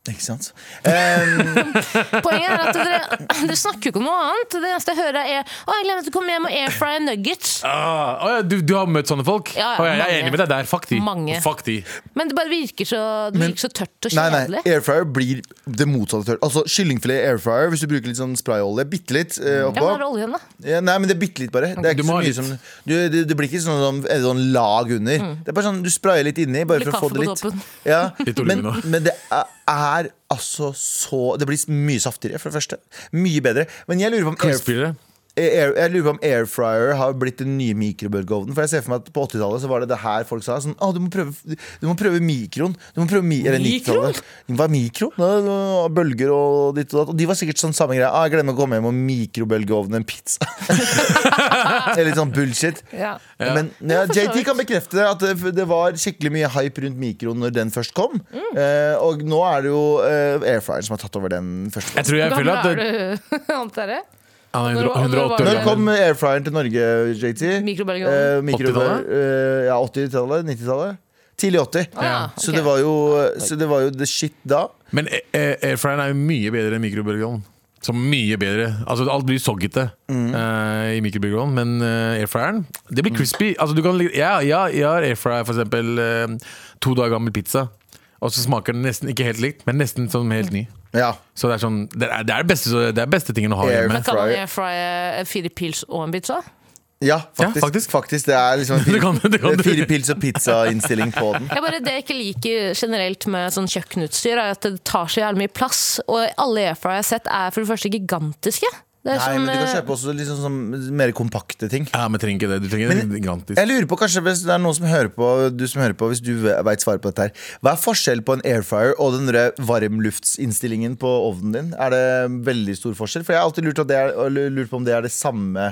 Ikke sant? Eh,
Poenget er at dere, dere snakker jo ikke om noe annet. Det eneste jeg hører, er Å, jeg glemte å komme hjem og airfrye nuggets.
Ah, å ja, du, du har møtt sånne folk?
Ja, ja,
Å jeg
mange.
er enig med deg der. Fuck de.
Mange.
Fuck de.
Men det bare virker så, det virker så tørt og
nei,
kjedelig.
nei. Air fryer blir det motsatte tørt. Altså Kyllingfilet i air fryer, hvis du bruker litt sånn sprayolje, bitte litt eh,
Mm. Ja, men
oppå.
er det oljen, da?
Ja, nei, men det er bitte litt, bare. Det, er
Du
ikke så
må ha
mye
litt. Mm.
som, du, det, det blir ikke sånn, sånn, et sånn lag under. Det er bare sånn, Du sprayer litt inni bare
Litt
for å få
kaffe
det
på
litt.
toppen.
Ja.
Litt oliven
Men,
også.
men det er er altså så Det blir mye saftigere, for det første. Mye bedre. Men jeg lurer på om air,
Airfryer.
air, jeg lurer på om air fryer har blitt den nye mikrobølgeovnen. For jeg ser for meg at på 80-tallet så var det det her folk sa. Sånn, «Å, du, må prøve, du må prøve mikroen. Du må prøve mi eller
Mikroen?
90-tallet. Det var mikro. Det var Bølger og ditt og datt. Og de var sikkert sånn samme greia. Ah, jeg glemmer å komme hjem og mikrobølgeovne en pizza. eller litt sånn bullshit.
Ja.
Men ja, JT kan bekrefte det, at det, det var skikkelig mye hype rundt mikroen når den først kom. Eh, og nå er det jo eh, airfryeren som har tatt over den første.
Jeg tror jeg
Hvor
føler
gammel
at det,
er du, Antere?
Han er
Når var- når
100
var
180
Når
år
kom
gammel.
airfryeren til Norge, JT?
Mikrobølgeovnen.
Eh, mikro-
80-tallet?
eh, ja, 80-tallet, 90-tallet. Tidlig 80.
Ah, Ja.
Så,
ok.
det var jo, så det var jo the shit da.
Men eh, eh, airfryeren er jo mye bedre enn mikrobølgeovn. Så mye bedre. Altså Alt blir soggete eh, i mikrobølgeovn, men eh, airfryeren Det blir crispy. Altså, du kan, legge- ja, ja, jeg har airfryer, for eksempel eh, to dager gammel pizza. Og så smaker den nesten ikke helt likt, men nesten som helt ny.
Ja.
Så det er sånn Det er, det er, beste, så det er beste tingen å ha
Air-
hjemme.
Men kan man
Fryer.
air frye fire pils og en pizza?
ja, faktisk.
faktisk.
faktisk. Det er liksom en
Det kan-
fire,
det kan du.
fire pils og pizza-innstilling på den.
Jeg bare, det jeg ikke liker generelt med sånn kjøkkenutstyr, er at det tar så jævlig mye plass. Og alle airfryer jeg har sett, er for det første gigantiske. Det er
Nei,
som,
men du kan
eh,
kjøpe også liksom sånn mer kompakte ting.
Ja, men trenger ikke det. Du trenger en gigantisk.
Jeg lurer på, kanskje hvis det er noen som hører på, du som hører på, hvis du veit svaret på dette her. Hva er forskjellen på en airfryer og den derre varmluftsinnstillingen på ovnen din? Er det veldig stor forskjell? For jeg har alltid lurt, at det er, lurt på om det er det samme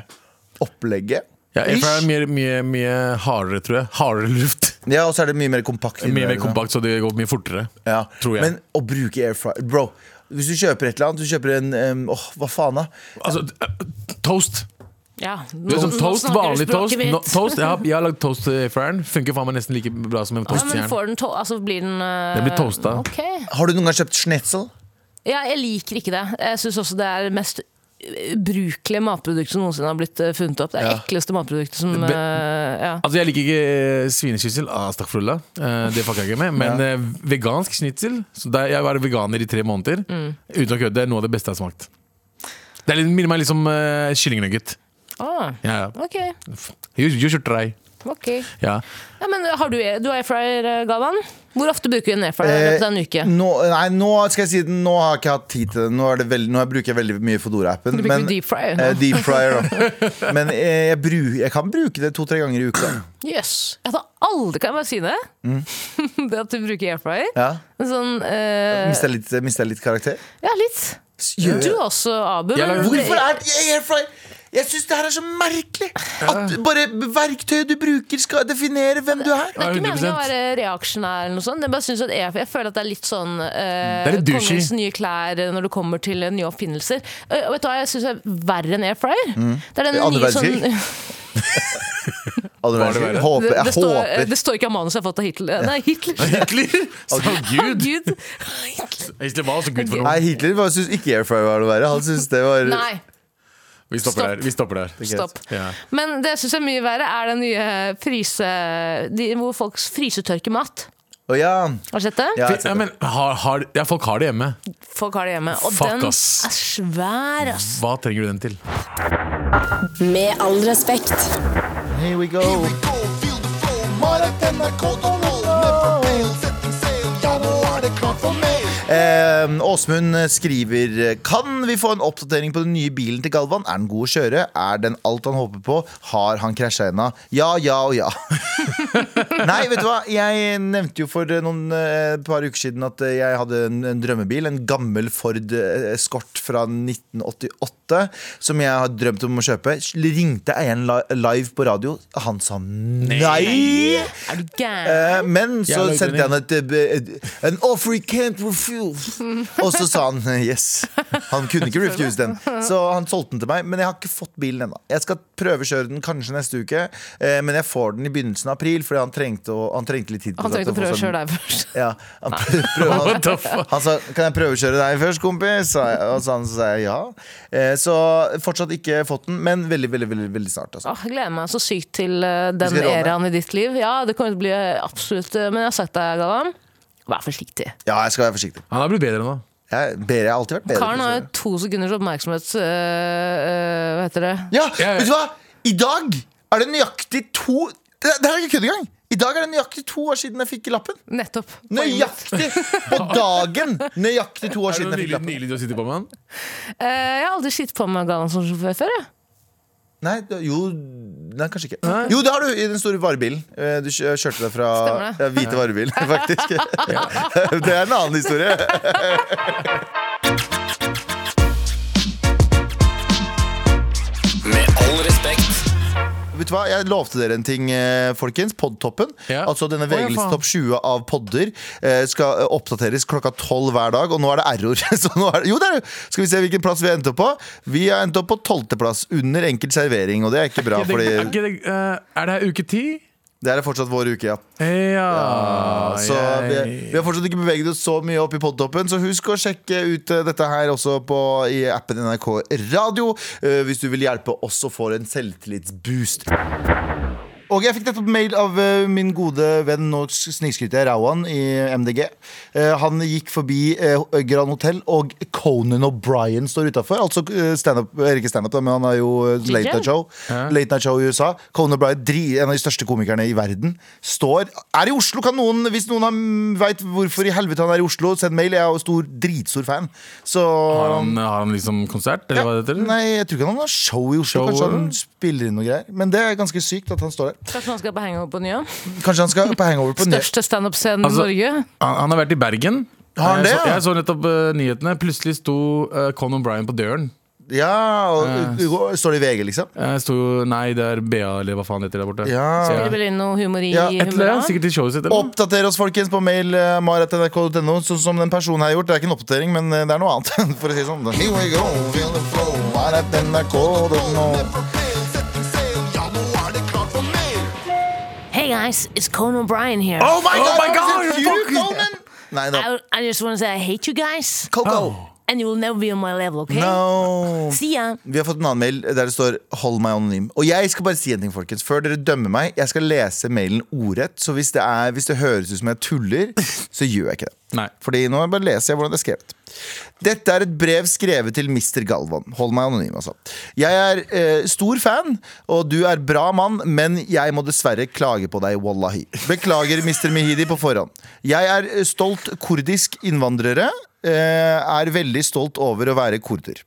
opplegget.
Ja, airfryer er
Ish.
mye, mye, mye hardere, tror jeg. Hardere luft.
ja, og så er det mye mer kompakt. inni
Mye
der,
mer
liksom.
kompakt, så det går mye fortere.
Ja.
Tror jeg.
Men å bruke airfryer Bro, hvis du kjøper et eller annet, du kjøper en em, Åh, hva faen, da?
Altså, toast.
ja,
Du vet,
nå-
sånn
nå
toast,
snakker du
vanlig
språket
toast.
mitt.
No, toast jeg, har, jeg har lagd toast til airfryeren. Funker faen meg nesten like bra som en
Ja, men
toastjern.
får den to altså blir den eh,
Den blir toastet.
Ok.
Har du noen gang kjøpt schnitzel?
Ja, jeg liker ikke det. Jeg syns også det er det mest ubrukelige matproduktet som noensinne har blitt eh, funnet opp. Det er det
Ja.
ekleste matproduktet som
Be-
eh, ja.
Altså, jeg liker ikke eh, svinekyssel. Ah, Stakkfrulla. Eh, det fucker jeg ikke med. Men eh, vegansk snitsel så der, Jeg var veganer i tre måneder.
Mm.
Uten å kødde. Det er noe av det beste jeg har smakt. Det er litt, minner meg litt om uh, kyllingnugget.
Ah,
Ja, ja.
ok.
You, you should try.
ok.
Ja.
Ja, men har du, du har airfryer, eh, Galvan? Hvor ofte bruker du en airfryer i løpet av en uke?
Eh, Nå, nei, nå skal jeg si det, nå har jeg ikke hatt tid til det. Nå, er det veldig, nå bruker jeg veldig mye Fodora-appen.
Du bruker deep fryer nå.
Eh, deep fryer, da. Men eh, jeg, bru, jeg kan bruke det to-tre ganger i uka.
Jøss. Yes. Jeg hadde aldri Kan jeg bare si det? det at du bruker airfryer.
Ja.
En Sånn eh,
Mister jeg litt, mister jeg litt karakter?
Ja, litt.
Gjør
Du
jeg-
også, Abu.
Jeg
men-
lager-
Hvorfor er det air fryer? Jeg syns det her er så merkelig! At bare verktøyet du bruker, skal definere hvem du er.
Det er ikke meningen å
100%.
være reaksjonær, eller noe sånt. Jeg, bare synes at jeg, jeg føler at det er litt sånn uh,
Det er litt douchey.
Kongens nye klær eh, når det kommer til eh, nye oppfinnelser. Eh, og vet du hva jeg syns er verre enn air fryer? Det er den
Andre
nye sånn
verdenskrig?
det
Jeg
verre?
håper,
det, det,
jeg
står, eh,
håper.
det står ikke av manuset jeg har fått av Hitler. Nei, Hitler.
Hitler! Så
Å,
gud!
Gud. Hitler.
Hitler var så gud for
Nei,
noe.
Hitler var- syntes ikke air fryer var det verre. Han syntes det var
Nei,
Vi
Stopp.
stopper der. Vi stopper der.
stopp.
Ja.
Men det jeg syns er mye verre, er den nye fryse... De, hvor folk frysetørker mat.
Å ja.
Har du sett det?
ja jeg
Ja,
ser det.
men har, har, ja, folk har det hjemme.
Folk har det hjemme. Og
Fuck,
den
ass.
er svær, ass.
Hva trenger du den til?
Med all respekt.
Here we go. Eh, Åsmund skriver Kan vi få en oppdatering på den nye bilen til Galvan? Er den god å kjøre? Er den alt han håper på? Har han krasja ennå? Ja, ja og ja. Nei, vet du hva? Jeg nevnte jo for noen eh, par uker siden at eh, jeg hadde en, en drømmebil. En gammel Ford eh, Escort fra 1988 som jeg har drømt om å kjøpe. Ringte eieren li- live på radio. Han sa nei!
Er du gæren?
Eh, Men så
Jævla
sendte
utlending.
han et, eh, et An offer he can't refuse. Og så sa han eh, yes. Han kunne ikke refuse den, så han solgte den til meg. Men jeg har ikke fått bilen ennå. Jeg skal prøvekjøre den kanskje neste uke, eh, men jeg får den i begynnelsen av april, fordi han trengte, å, han trengte litt tid. på
Han
seg
trenger ikke
til
å
å
prøve
få
å
seg den-
kjøre deg først.
ja, han, prøv,
What the
han,
fuck?
han sa 'Kan jeg prøvekjøre deg først, kompis?' Sa jeg, og så han sa jeg ja. Eh, Så fortsatt ikke fått den, men veldig, veldig, veldig, veldig snart. Altså.
Åh, jeg gleder meg så sykt til eh, den
skal råne.
eraen i ditt liv. Ja, det kommer til å bli eh, absolutt eh, Men jeg har sagt deg, Galvan, vær forsiktig.
Ja, jeg skal være forsiktig.
Han har blitt bedre nå.
Jeg, bedre, jeg har alltid vært bedre.
Karen har
til å
jo to sekunders oppmerksomhet eh, eh, Hva heter det?
Ja,
Ja, ja.
vet du hva? I dag er det nøyaktig to Det, det her er ikke kødd engang! I dag er det nøyaktig to år siden jeg fikk lappen.
Nettopp.
Nøyaktig på dagen! Nøyaktig to år
Er det
siden jeg fikk
noe nylig,
lappen.
nylig du har sittet på med den?
Eh, jeg har aldri skitt på meg gallaen som sjåfør før. Jeg.
Nei, det- jo Nei, kanskje ikke. Jo, det har du i den store varebilen. Eh, Du kjø- kjørte deg fra
Stemmer det.
ja, hvite varebil, faktisk. Det er en annen historie.
Med all respekt.
Vet du hva, Jeg lovte dere en ting, eh, folkens. Podtoppen.
Ja.
Altså denne
Å, ja,
VG-listen
faen.
topp 20 av podder eh, skal eh, oppdateres klokka 12 hver dag, og nå er det error. Så nå er det, jo, det er, jo- skal vi se hvilken plass vi har endt opp på? Vi har endt opp på 12. plass under enkel servering, og det er ikke bra,
Er det- er
fordi
ikke det- eh, er det her uke ti?
det her er fortsatt vår uke, ja.
Ja,
Så vi, vi har fortsatt ikke beveget oss så mye opp i podtoppen, så husk å sjekke ut eh, dette her også på, i appen NRK Radio eh, hvis du vil hjelpe oss å få en selvtillitsboost. Og jeg fikk nettopp mail av eh, min gode venn Nå snikskryter jeg Rauan i MDG. Eh, han gikk forbi eh, Grand Hotel, og Conan O'Brien står utafor. Altså eh, standup, eh, ikke standup, da, men han er jo eh, late night show. Late night show i USA. Conan O'Brien, dri- en av de største komikerne i verden, står Er i Oslo! Kan noen, hvis noen har- vet hvorfor i helvete han er i Oslo, send mail. Jeg er jo stor, dritstor fan. Så
Har han, har han liksom konsert, eller hva det heter?
Nei, jeg tror ikke han har show i Oslo.
Show,
Kanskje han
eller?
spiller inn noe greier. Men det er ganske sykt at han står der.
Kanskje man skal på hangover på Nyan?
Kanskje han skal på hangover på Nø-
Største standup-scenen
Altså-
i Norge.
Han, han har vært i Bergen.
Har han
jeg,
det,
så,
ja?
jeg så nettopp eh, nyhetene. Plutselig sto eh, Conan Bryan på døren.
Ja, og og- står det i VG, liksom?
Jeg sto, nei, det er BA, eller hva faen det heter der borte.
Ja.
Så
Spiller
jeg,
vel inn noe humor i
Ja, et
et eller
Humra.
annet, sikkert til showet sitt. Eller? noe.
Oppdater oss, folkens, på mail eh, maratnrk.no, sånn som den personen her har gjort. Det er ikke en oppdatering, men eh, det er noe annet, for å si det sånn. Here we go, feel the flow, maratnrk.no.
Hey guys, it's Conan O'Brien here.
Oh my god!
my God,
is it
you
you,
fucking-
Conan? Nei da.
I, I just want to say I hate you guys,
Coco.
and you will never be on my level, okay?
No.
See ya.
Vi har fått en annen mail der det står 'hold meg anonym'. Og jeg skal bare si en ting, folkens. Før dere dømmer meg, jeg skal lese mailen ordrett. Så hvis det, er, hvis det høres ut som jeg tuller, så gjør jeg ikke det.
Nei.
Fordi nå bare leser jeg hvordan det er skrevet. Dette er et brev skrevet til Mr. Galvan. Hold meg anonym, altså. Jeg er eh, stor fan, og du er bra mann, men jeg må dessverre klage på deg, wallahi. Beklager, Mr. Mehidi, på forhånd. Jeg er eh, stolt kurdisk innvandrere. eh, er veldig stolt over å være kurder.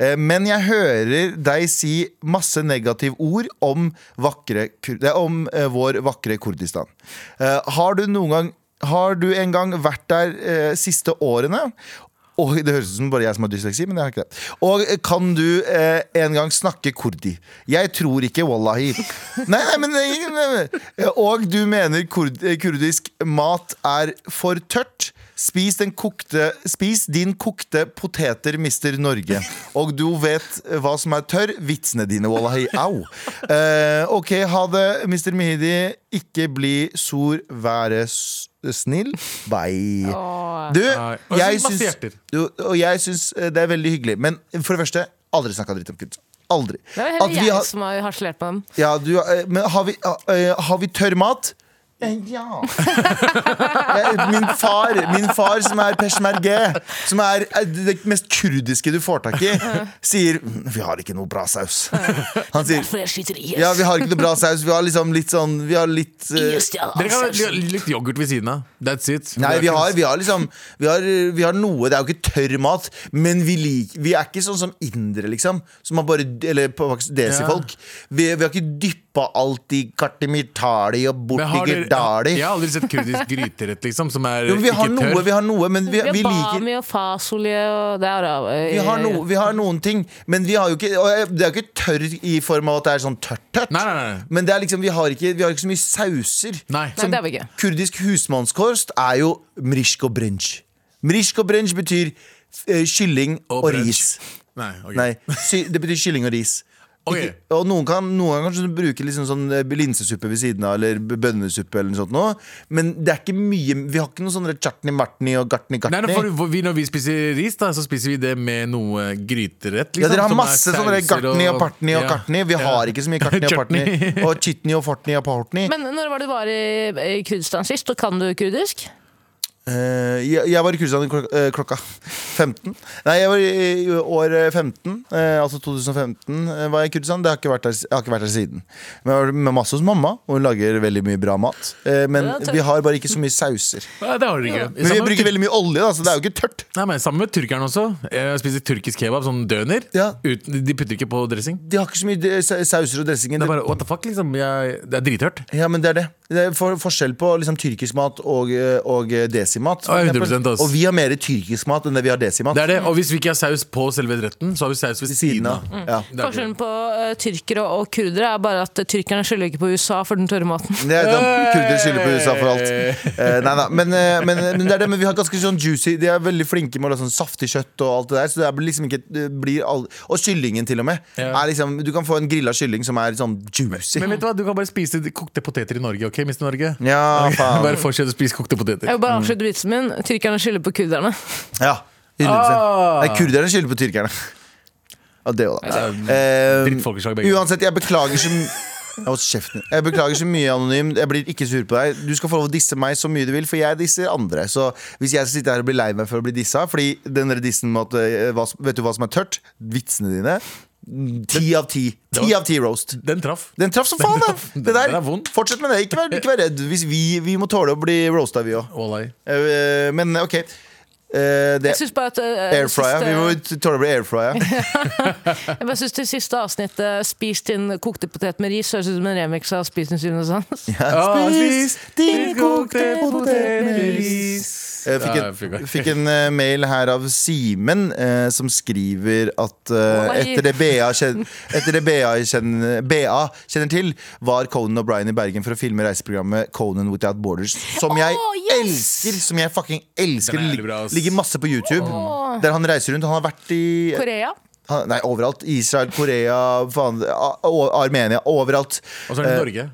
Eh, men jeg hører deg si masse negative ord om, vakre, kur- eh, om eh, vår vakre Kurdistan. Eh, har du noen gang har du en gang vært der eh, siste årene? Og Det høres ut som bare jeg som har dysleksi, men jeg har ikke det. Og eh, kan du eh, en gang snakke kurdi? Jeg tror ikke, wallahi. Nei, nei, men det er ingen- nei, nei. Og du mener kurd, eh, kurdisk mat er for tørt? Spis, den kokte, spis din kokte poteter, mister Norge. Og du vet eh, hva som er tørr. Vitsene dine, wallahi. Au. Eh, ok, ha det, mister Mehidi. Ikke bli sur, være s- snill. Bye. Du,
Nei. Og
jeg
masse
syns,
hjerter.
jo, og jeg syns eh, det er veldig hyggelig. Men for det første, aldri snakka dritt om kunst. Aldri.
Det er jo
At
heller
vi
jeg
har-
som har harselert med dem.
ja, du, eh, men har vi, eh, har vi tørr mat? Eh, Ja. Jeg- Min far, min far som er peshmerge, som er eh, det mest kurdiske du får tak i, sier "Mm, 'vi har ikke noe bra saus'. Han sier
For jeg skyter i IS.
ja, vi har ikke noe bra saus, vi har liksom litt sånn Vi har litt eh,
IS stjal altså,
Dere kan
alt.
ha litt yoghurt ved siden av. That's it.
Nei, vi har, vi har liksom vi har, vi har noe, det er jo ikke tørr mat Men vi, lik, vi er ikke sånn som indre liksom Som har bare, eller på faktisk desifolk vi, vi har ikke dyppet alt i kartimitali og
Men har dere-
bortigirdali
Jeg har aldri sett kurdisk gryterett, liksom, som er
Jo, men vi har
ikke
noe,
tørr.
vi har noe Men vi,
Vi har
vi liker
Bami og fasolje og det er eh, av-
vi har, noe, vi har noen ting Men vi har jo ikke, og jeg- det er jo ikke tørr i form av at det er sånn tørt tørt
Nei, nei, nei.
Men det er liksom, vi har ikke, vi har ikke så mye sauser
Nei.
Nei, det har vi ikke.
Kurdisk husmannskost er jo mrishk og brenj. Mrishk og brenj betyr eh, kylling
Og
og,
brunch.
ris.
Nei, ok.
Nei, sy det betyr kylling og ris.
Ok.
Ikke- Og noen kan, noen kan kanskje bruke liksom sånn eh, linsesuppe ved siden av, eller b- bønnesuppe, eller noe sånt. Nå. Men det er ikke mye Vi har ikke noe sånn chutney martney og gartney
Nei, nei, for
gartney.
vi, når vi spiser ris, da, så spiser vi det med noe gryterett. Liksom,
Ja, dere har
som er
masse sånne
sauser
gartney og partney og
Ja.
kartney. Vi har ikke så mye kartney og partney.
Chutney.
Og chitney og fortney og partney.
Men når var det du var i, i Kurdistan sist, og kan du kurdisk?
Eh, jeg, jeg var i Kurdistan klok eh, klokka 15. Nei, jeg var i, i år eh, 15, eh, altså 2015, eh, var jeg i Kurdistan. Det har ikke vært der, s- jeg har ikke vært der siden. Men jeg har vært med masse hos mamma, og hun lager veldig mye bra mat. Eh, men
Ja, tø-
vi har bare ikke så mye sauser.
Nei, det har dere ikke.
Men vi
Sammen med
bruker
tyr-
veldig mye olje, da, så det er jo ikke tørt.
Nei, men Sammen med tyrkerne også. Jeg spiser tyrkisk kebab, sånn døner.
Ja.
Uten, de putter ikke på dressing.
De har ikke så mye eh, sa- sauser og dressing.
Det er bare what the fuck, liksom. Jeg, det er drithørt.
Ja, men det er det. Det er for, forskjell på liksom, tyrkisk mat og, eh, og eh, desimat. for
Ja,
eksempel.
100% ass.
Og vi har mer tyrkisk mat enn det vi har desimat.
Det er det, Og hvis vi ikke har saus på selve retten, så har vi saus ved
Ved siden av. Ja.
Det er
Forskjellen på eh, tyrkere og kurdere er bare at eh, tyrkerne skylder ikke på USA for den tørre maten.
Det er sånn, Kurder skylder på USA for alt. Eh, nei, nei, men, eh, men, men det er det, men vi har ganske sånn juicy De er veldig flinke med å lage sånn saftig kjøtt og alt det der. Så det er liksom ikke det blir all, Og kyllingen, til og med.
Ja.
Er liksom, du kan få en grilla kylling som er sånn juicy.
Men vet du hva, du kan bare spise kokte poteter i Norge, ok, Mr. Norge?
Ja,
Bare
faen.
fortsett å spise kokte poteter.
Jeg vil
Mm.
bare avslutte vitsen min. Tyrkerne skylder på kurderne.
Ja, 100%.
Ah!
Nei, kurderne skylder på tyrkerne. Ja, det òg, da.
Dritt
Eh,
folkeslag, begge.
uansett, jeg beklager så m- Hold kjeften. Jeg beklager så mye, Anonym. Jeg blir ikke sur på deg. Du skal få lov å disse meg så mye du vil, for jeg disser andre. Så hvis jeg skal sitte her og bli lei meg for å bli dissa Fordi den der dissen med at eh, hva, som- Vet du hva som er tørt? Vitsene dine. Ti av ti. Ti av ti roast.
Den traff.
Den traff som faen, da!
traff.
Det der,
Den er vond.
fortsett med det. Ikke vær, ikke vær redd. Hvis vi, vi må tåle å bli roasta, vi òg.
Wallai.
Men eh, OK. Eh, Det
Jeg syns bare at eh,
Air fryer.
siste-
Vi må t- tåle å bli air fryer.
Jeg bare synes det siste avsnittet Spist inn kokte potet med ris Høres ut som en remix av Spis din syvende sans
Ah, spis din kokte potet med ris.
Jeg fikk,
Ja,
en, fikk en eh, mail her av Simen, eh, som skriver at eh,
Oi.
etter det BA, kjen, etter det BA, kjenner, BA kjenner til, var Conan O'Brien i Bergen for å filme reiseprogrammet Conan Without Borders. Som jeg
Åh, yes!
elsker! Som jeg fucking elsker.
Den er
Det
jævlig bra, ass.
ligger masse på YouTube. Der han reiser rundt. Han har vært i
Korea
han, Nei, overalt. Israel, Korea, faen, A- A- Armenia. Overalt.
Og så er det
Eh,
Norge.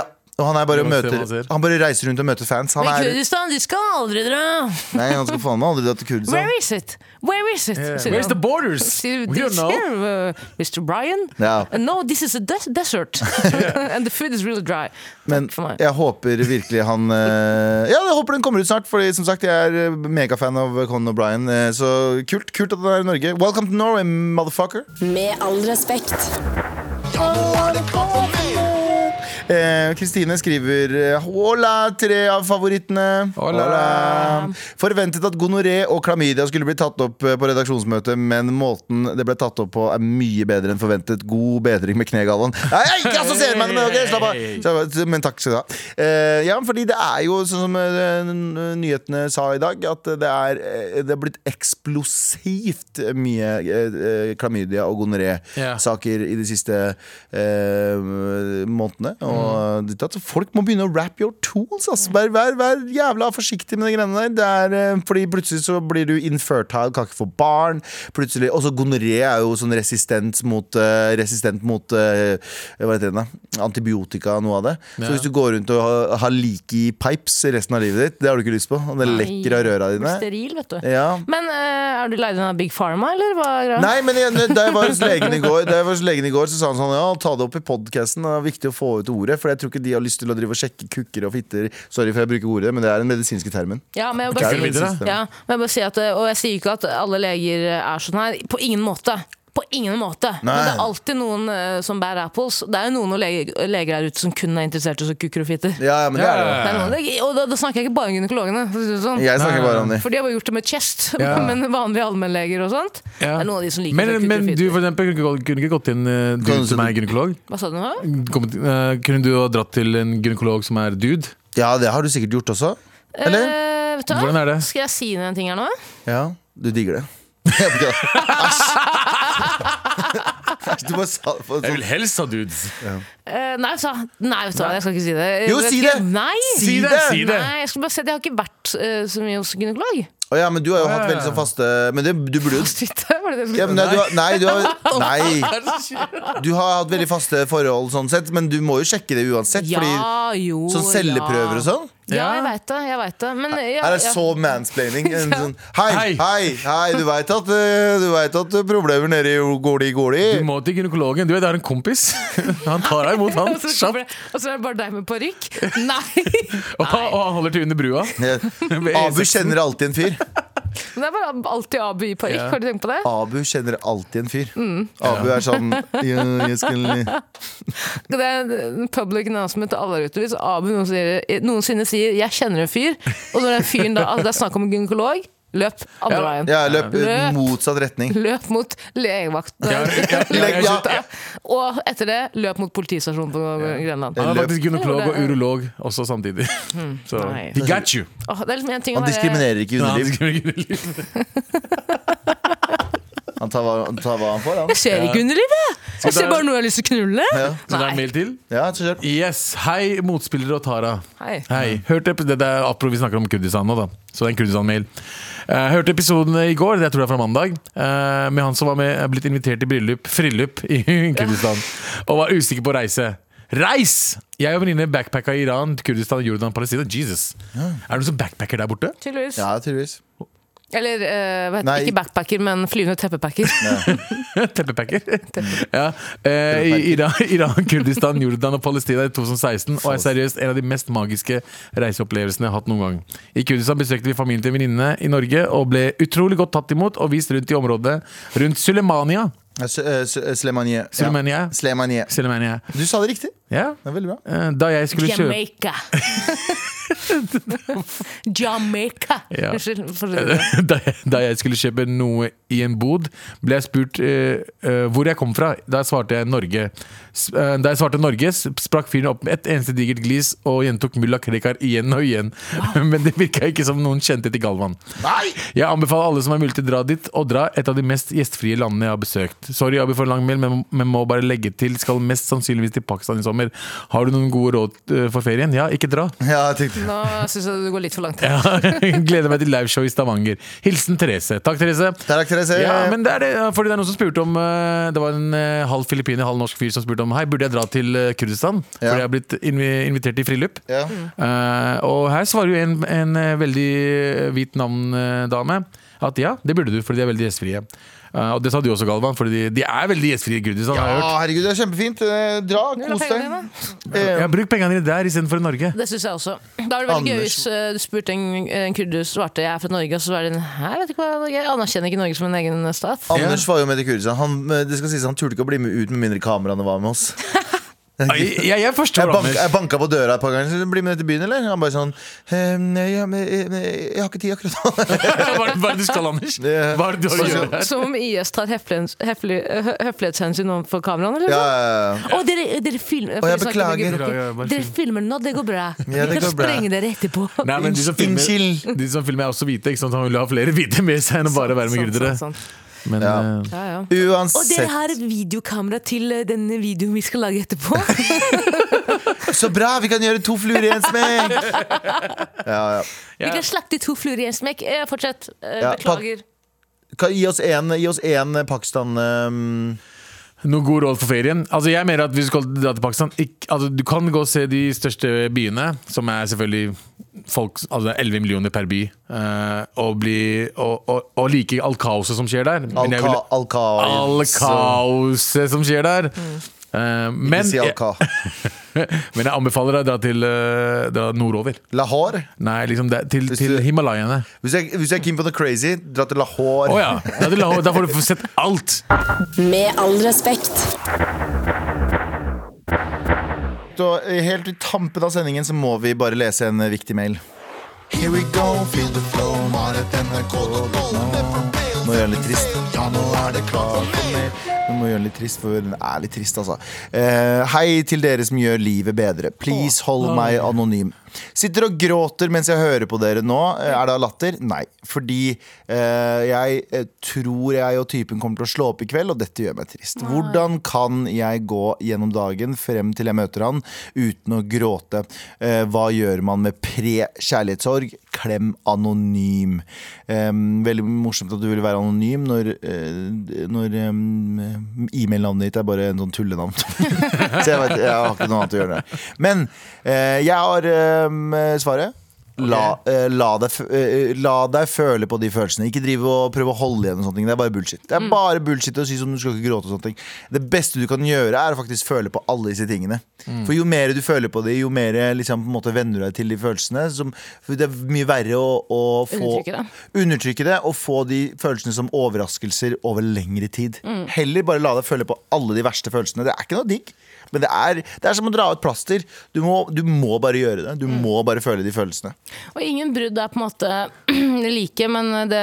Ja. Og han, er bare
Vi må se
møter,
hva han ser.
han bare reiser rundt og møter fans. Han
Men
er,
Kurdistan, de skal aldri dra
nei, han skal faen meg aldri dra til Kurdistan.
Where is it? Where is it?
Yeah.
sier
Where's
han.
the borders?
Sier
We don't
this
know.
here, uh, Mr. Brian
Ja.
Uh, No, this is a des desert And the food is really dry
Men
Takk for meg
jeg håper virkelig han eh, Ja, jeg håper den kommer ut snart, Fordi som sagt, jeg er eh, megafan av Conan O'Brien. eh, Så kult kult at den er i Norge. Welcome to Norway, motherfucker.
Med all respekt.
Eh, Kristine skriver eh, Hola, tre av favorittene.
Hola.
Forventet at gonoré og klamydia skulle bli tatt opp eh, på redaksjonsmøtet, men måten det ble tatt opp på, er mye bedre enn forventet. God bedring med knegallaen. Nei, jeg ikke assosierer meg med det! ok, slapp av. Slapp av. Men takk skal du ha. Eh, ja, fordi det er jo sånn som eh, n- nyhetene sa i dag, at det er, eh, det er blitt eksplosivt mye eh, eh, klamydia og
Ja.
gonoré-saker saker i de siste eh, månedene. Og ditt datt. Så folk må begynne å wrap your tools. Ass. Vær, vær, vær jævla forsiktig med de greiene der. Det er, eh, fordi plutselig så blir du infertile, kan ikke få barn. Plutselig, Også gonoré er jo sånn resistent mot, eh, resistent mot eh, hva heter det, da? antibiotika og noe av det. Så
Ja.
hvis du går rundt og har, har leaky pipes resten av livet ditt, det har du ikke lyst på. Og det lekker av røra
Blir
dine.
Steril, vet du
Ja.
Men eh, er du leid inn av Big Pharma, eller hva er greia?
Nei, men jeg, da jeg var hos legen i går, Da jeg var hos legen i går så sa han sånn Ja, ta det opp i podcasten, det er viktig å få ut ordet For jeg tror ikke de har lyst til å drive og sjekke kukker og fitter Sorry for jeg bruker ordet, men det er den medisinske termen
Ja, men jeg vil
Ok,
bare
vi
si,
videre.
ja, men jeg bare si at, eh, og jeg sier ikke at alle leger er sånn her. På ingen måte. På ingen måte. Men det er alltid noen eh, som bærer apples. Det er jo noen leger, leger der ute som kun er interessert i så kukker og fitter.
Ja, ja, men det er det
Det er noen leger, og da, da snakker jeg ikke bare om gynekologene. For, å si det sånn.
Jeg snakker bare om det
for de har bare gjort det med chest,
Ja.
men vanlige allmennleger og sånt. Det er noen av de som liker sånn
men,
seg kukker
men
og
du
fitter.
for eksempel kunne kunne ikke gått inn eh, Du
Kan du
som
si-
er gynekolog
Hva sa du nå?
Kom- eh, Kunne du ha dratt til en gynekolog som er dude?
Ja, det har du sikkert gjort også Eller?
Eh, vet du hva?
Hvordan er det?
Skal jeg si en ting her nå?
Ja, du digger det Jeg vet ikke. Æsj Æsj, Du bare sa det på en sånn-
helst ha dudes
Eh, nei, sa, nei, vet du hva, jeg skal ikke si det.
Jo,
Jeg
si
skal-
det!
Nei!
Si det!
Si det!
Nei, jeg skal bare si at jeg har ikke vært eh, så mye hos gynekolog.
Å ja, men du har jo hatt
Ja, ja,
veldig
ja.
sånn faste Men det, du burde jo
Titte, var det det du
ja,
skulle
men nei, du har, nei, du har, nei, du har hatt veldig faste forhold sånn sett Men du må jo sjekke det uansett fordi
Ja, jo,
Sånn celleprøver
ja.
og sånn?
Ja,
Ja.
jeg veit det. jeg vet det Men ja,
Her er
ja.
så mansplaining. En sånn, hei,
Hei.
hei, hei, du veit at, eh, du vet at problemer nede i Goli-Goli
Du må til gynekologen. Du vet, jeg har en kompis. Han tar deg imot, han.
Og så kommer
Kjapt.
det- og så er det bare deg med parykk? Nei!
Og, og han holder til under brua. Ved
Abu
E6.
kjenner alltid en fyr.
Men det er bare alltid Abu i parykk,
Ja.
har du tenkt på det?
Abu kjenner alltid en fyr. Abu er sånn «Ja, jeg skulle...
Det er en public announcement til alle der ute. Hvis Abu noen sier- noensinne sier 'jeg kjenner en fyr', og når den fyren da altså Det er snakk om en gynekolog, løp andre
Ja.
veien.
Ja, løp i
Løp.
motsatt retning.
Løp mot legevakt.
Ja, ja, ja, jeg
Ja.
skjønte.
Og etter det, løp mot politistasjonen på Grenland.
Han er
Løp.
faktisk gynekolog og
Eller-
urolog også samtidig. Så
Hmm. Nei.
he got you!
Åh, det er liksom en ting å
Han
være-
diskriminerer ikke
Nei, han
underliv.
skriver ikke underliv.
Han tar hva han, tar hva han får, han.
Jeg ser ikke underlivet! Jeg
vi ta-
ser bare noe jeg har lyst til å knulle.
Ja.
Så det er en mail til.
Ja, så kjør.
Yes, Hei, motspillere og Tara.
Hei.
Hørte epi- det er apro, Vi snakker om Kurdistan nå, da. Så det er en Kurdistan-mail. Eh, hørte episoden i går, det jeg tror det er fra mandag, eh, med han som var med, er blitt invitert i bryllup, frillup i Kurdistan, og var usikker på å reise. Reis! Jeg og venninne backpacka i Iran, Kurdistan, Jordan, Palestina. Jesus! Er det noen som backpacker der borte?
Tydeligvis.
Ja, tydeligvis.
Eller eh, hva heter,
Nei.
det? ikke backpacker, men flyvende teppepacker.
Teppepacker. ja. eh, i Iran, Iran, Kurdistan, Jordan og Palestina i 2016. Og er seriøst en av de mest magiske reiseopplevelsene jeg har hatt noen gang. I Kurdistan besøkte vi familien til en venninne i Norge og ble utrolig godt tatt imot og vist rundt i området rundt Sulemania.
Ja, S- eh, S- eh, Slemanie. Ja.
Sulemania.
Slemanie.
Sulemania.
Du sa det riktig. Det
Ja.
er veldig bra.
Eh, Da jeg skulle kjøpe
Jamaica. Jamaica.
Ja.
Unnskyld. fortsett.
da, jeg, da jeg skulle kjøpe noe i en bod, ble jeg spurt eh, eh, hvor jeg kom fra. Da svarte jeg Norge. S- eh, da jeg svarte Norge, s- sprakk fyren opp med et eneste digert glis og gjentok mulla Krekar igjen og igjen. Men det virka ikke som noen kjente til Galvan.
Nei!
Jeg anbefaler alle som har mulighet til å dra dit, å dra et av de mest gjestfrie landene jeg har besøkt. Sorry, Abi, for en lang mail, men, men må bare legge til skal mest sannsynligvis til Pakistan i sommer. Har du noen gode råd eh, for ferien? Ja, ikke dra.
Ja, jeg tenkte
Nå syns jeg du går litt for langt.
Ja, gleder meg til liveshow i Stavanger. Hilsen Therese. Takk, Therese.
Takk, Therese.
Ja, men det er det, fordi det er noen som spurte om eh, Det var en eh, halv filippiner, halv norsk fyr som spurte om Hei, burde jeg dra til eh, Kurdistan?
Ja.
Fordi jeg har blitt invi invitert til frilupp.
Ja.
Eh, og her svarer jo en, en eh, veldig hvit navn-dame at ja, det burde du, fordi de er veldig gjestfrie. Eh, og det sa du også, Galvan, fordi de, de er veldig gjestfrie i Kurdistan. har jeg
Ja,
hørt.
herregud, det er kjempefint. Eh, Dra,
Hvor er
kos
pengene
deg.
dine?
Eh,
Ja, bruk pengene dine der istedenfor i Norge.
Det syns jeg også. Da er det veldig gøy
Anders-
hvis eh, du spurte en, en kurder svarte jeg er fra Norge, og så var det en Hæ, jeg vet ikke hva Norge er. Jeg anerkjenner ikke Norge som en egen eh, stat.
Anders var jo med til Kurdistan. Han, eh, det skal sies, han turte ikke å bli med ut med mindre kameraene var med oss.
Jeg, jeg, jeg
Jeg,
forstår,
bank,
Anders.
jeg banka på døra et par ganger. Så, Bli med ned til byen, eller? Han bare sånn ehm, nei, ja, men, eh, nei, Jeg har ikke tid akkurat nå.
Hva er det- hva er det du skal, Anders?
Det-
Hva er det du har å gjøre her?
Som om IS tar heflighets- hefli- hø- høflighetshensyn overfor kameraene,
Ja,
eller? noe?
ja, ja.
Å, dere, dere filmer
Å, jeg
for å snakke
beklager.
med Gebrokken.
Ja, ja, bare
Dere
film.
filmer nå, det går bra.
Ja,
Vi
det
kan
går bra.
sprenge dere etterpå.
Nei, men de som filmer,
Unnskyld.
de som filmer er også hvite, ikke sant? Han vil ha flere hvite med seg enn å bare være med
Sånn,
gurdere.
sånn, sånn.
Men
Ja.
eh,
Ja, ja. Og dere
Uansett.
har et videokamera til eh, den videoen vi skal lage etterpå.
Så bra! Vi kan gjøre to fluer i en smekk! Ja, ja.
Vi kan slakte to fluer i en smekk. Eh, Fortsett. Eh,
Ja,
Beklager.
Kan- Gi oss en, gi oss en eh, Pakistan ehm,
Noen god råd for ferien? Altså jeg mener at hvis du skal dra til Pakistan ikk, altså Du kan gå og se de største byene, som er selvfølgelig folk, altså det er 11 millioner per by, eh, og, bli, og, og, og like all kaoset som skjer der. Men
Alka,
jeg vil-
alka,
all kaoset som skjer der.
Mm.
Eh, men,
Si
jeg,
alka.
men jeg anbefaler deg å dra til eh, dra nordover.
Lahore.
Nei, liksom det, til,
Hvis
til
du-
Himalayene.
Hvis jeg, hvis jeg er keen på noe crazy, dra til Lahore.
Å ja! Da, til Lahore. da får du sett alt.
Med all respekt.
Så, eh, helt i tampen av sendingen så må vi bare lese en eh, viktig mail. Here we go, feel the flow, Nå gjør den litt trist. nå er det klart for mer. Nå må jeg gjøre den litt trist, for den er litt trist, altså. Eh, hei til dere som gjør livet bedre. Please hold meg anonym. Sitter og gråter mens jeg hører på dere nå. Eh, Er det av latter? Nei. Fordi eh, jeg eh, tror jeg og typen kommer til å slå opp i kveld, og dette gjør meg trist. Hvordan kan jeg gå gjennom dagen frem til jeg møter han uten å gråte? Eh, hva gjør man med pre-kjærlighetssorg? klem anonym. Em, veldig morsomt at du vil være anonym når, eh, når em, e-mail-navnet ditt er bare en sånn tullenavn. Så jeg, vet, jeg har ikke noe annet å gjøre der. Men eh, jeg har em, svaret. La, eh, la, deg, f- eh, la deg føle på de følelsene. Ikke drive og prøve å holde igjen. og sånne ting Det er bare bullshit. Det er bare bullshit å si som du skal ikke gråte og sånne ting Det beste du kan gjøre, er å faktisk føle på alle disse tingene. For jo mer du føler på det, jo mer liksom, på en måte venner du deg til de følelsene. Som, for det er mye verre å, å få
Undertrykke det.
undertrykke det og få de følelsene som overraskelser over lengre tid. Heller bare la deg føle på alle de verste følelsene. Det er ikke noe digg, men det er, det er som å dra ut plaster. Du må, du må bare gjøre det. Du må bare føle de følelsene.
Og ingen brudd er på en måte like, men det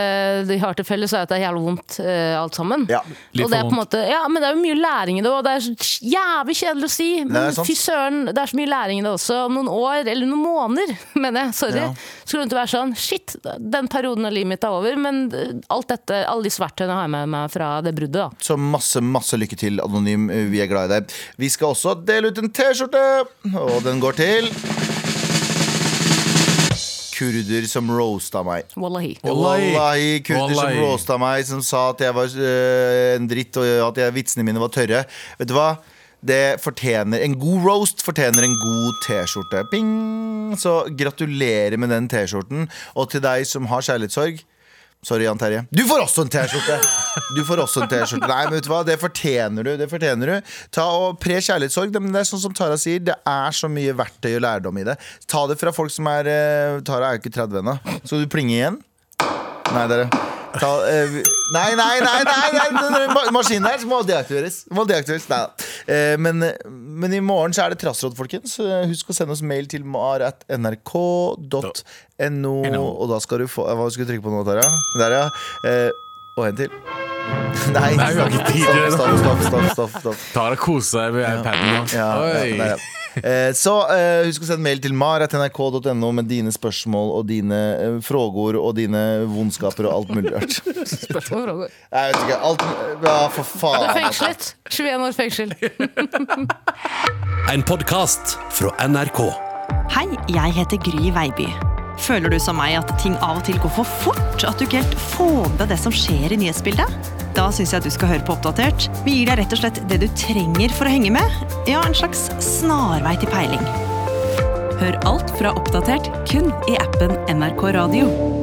de har til felles, er at det er jævlig vondt eh, alt sammen.
Ja.
Litt
og det
for
er på en
vondt.
måte, ja, men det er jo mye læring i det, og det er så jævlig kjedelig å si.
Nei, det er
Men
sant.
fy søren, det er så mye læring i det også. Om noen år, eller noen måneder, mener jeg, sorry,
Ja.
skulle det ikke være sånn Shit, den perioden av livet mitt er over, men eh, alt dette, alle disse verktøyene har jeg med meg fra det bruddet, da.
Så masse, masse lykke til, Anonym. Vi er glad i deg. Vi skal også dele ut en T-skjorte, og den går til Kurder som roasta meg.
Wallahi.
Wallahi.
Wallahi, kurder
Wallahi.
som roasta meg, som sa at jeg var øh, en dritt, og at jeg, vitsene mine var tørre. Vet du hva? Det fortjener En god roast fortjener en god T-skjorte. Ping! Så gratulerer med den T-skjorten. Og til deg som har kjærlighetssorg. Sorry, Jan Terje. Du får også en T-skjorte! Du får også en T-skjorte Nei, men vet du hva, det fortjener du. Det fortjener du Ta og Pre kjærlighetssorg. Det, men det er sånn som Tara sier, det er så mye verktøy og lærdom i det. Ta det fra folk som er eh, Tara er jo ikke 30 ennå. Skal du plinge igjen? Nei, dere. Ta, eh, vi- nei, nei, nei! nei, nei, den- den ma- Maskinen her må deaktiveres. Må deaktiveres. Nei, da. Eh, men, eh, men i morgen så er det trassråd, folkens. Eh, Husk å sende oss mail til mar.nrk.no. Og da skal du få eh, Hva skulle du trykke på nå, Tara? Der, ja. Eh, og en til. Nei,
Nei, vi har ikke tid til det nå.
stopp, stopp, stopp, stopp, stopp.
Tara koser seg med iPaden nå.
Ja, ja,
Oi.
der, ja. Eh, Så eh, husk å sende mail til mar.nrk.no med dine spørsmål og dine eh, frågor og dine vondskaper og alt mulig rart.
Spørsmål og frågor.
Nei, Jeg vet ikke, alt Ja, for
Du er
faen.
fengslet. 21 år fengsel.
En podcast fra NRK.
Hei, jeg heter Gry Veiby. Føler du som meg at ting av og til går for fort? At du ikke helt får med deg det som skjer i nyhetsbildet? Da syns jeg at du skal høre på Oppdatert. Vi gir deg rett og slett det du trenger for å henge med. Ja, en slags snarvei til peiling. Hør alt fra Oppdatert kun i appen NRK Radio.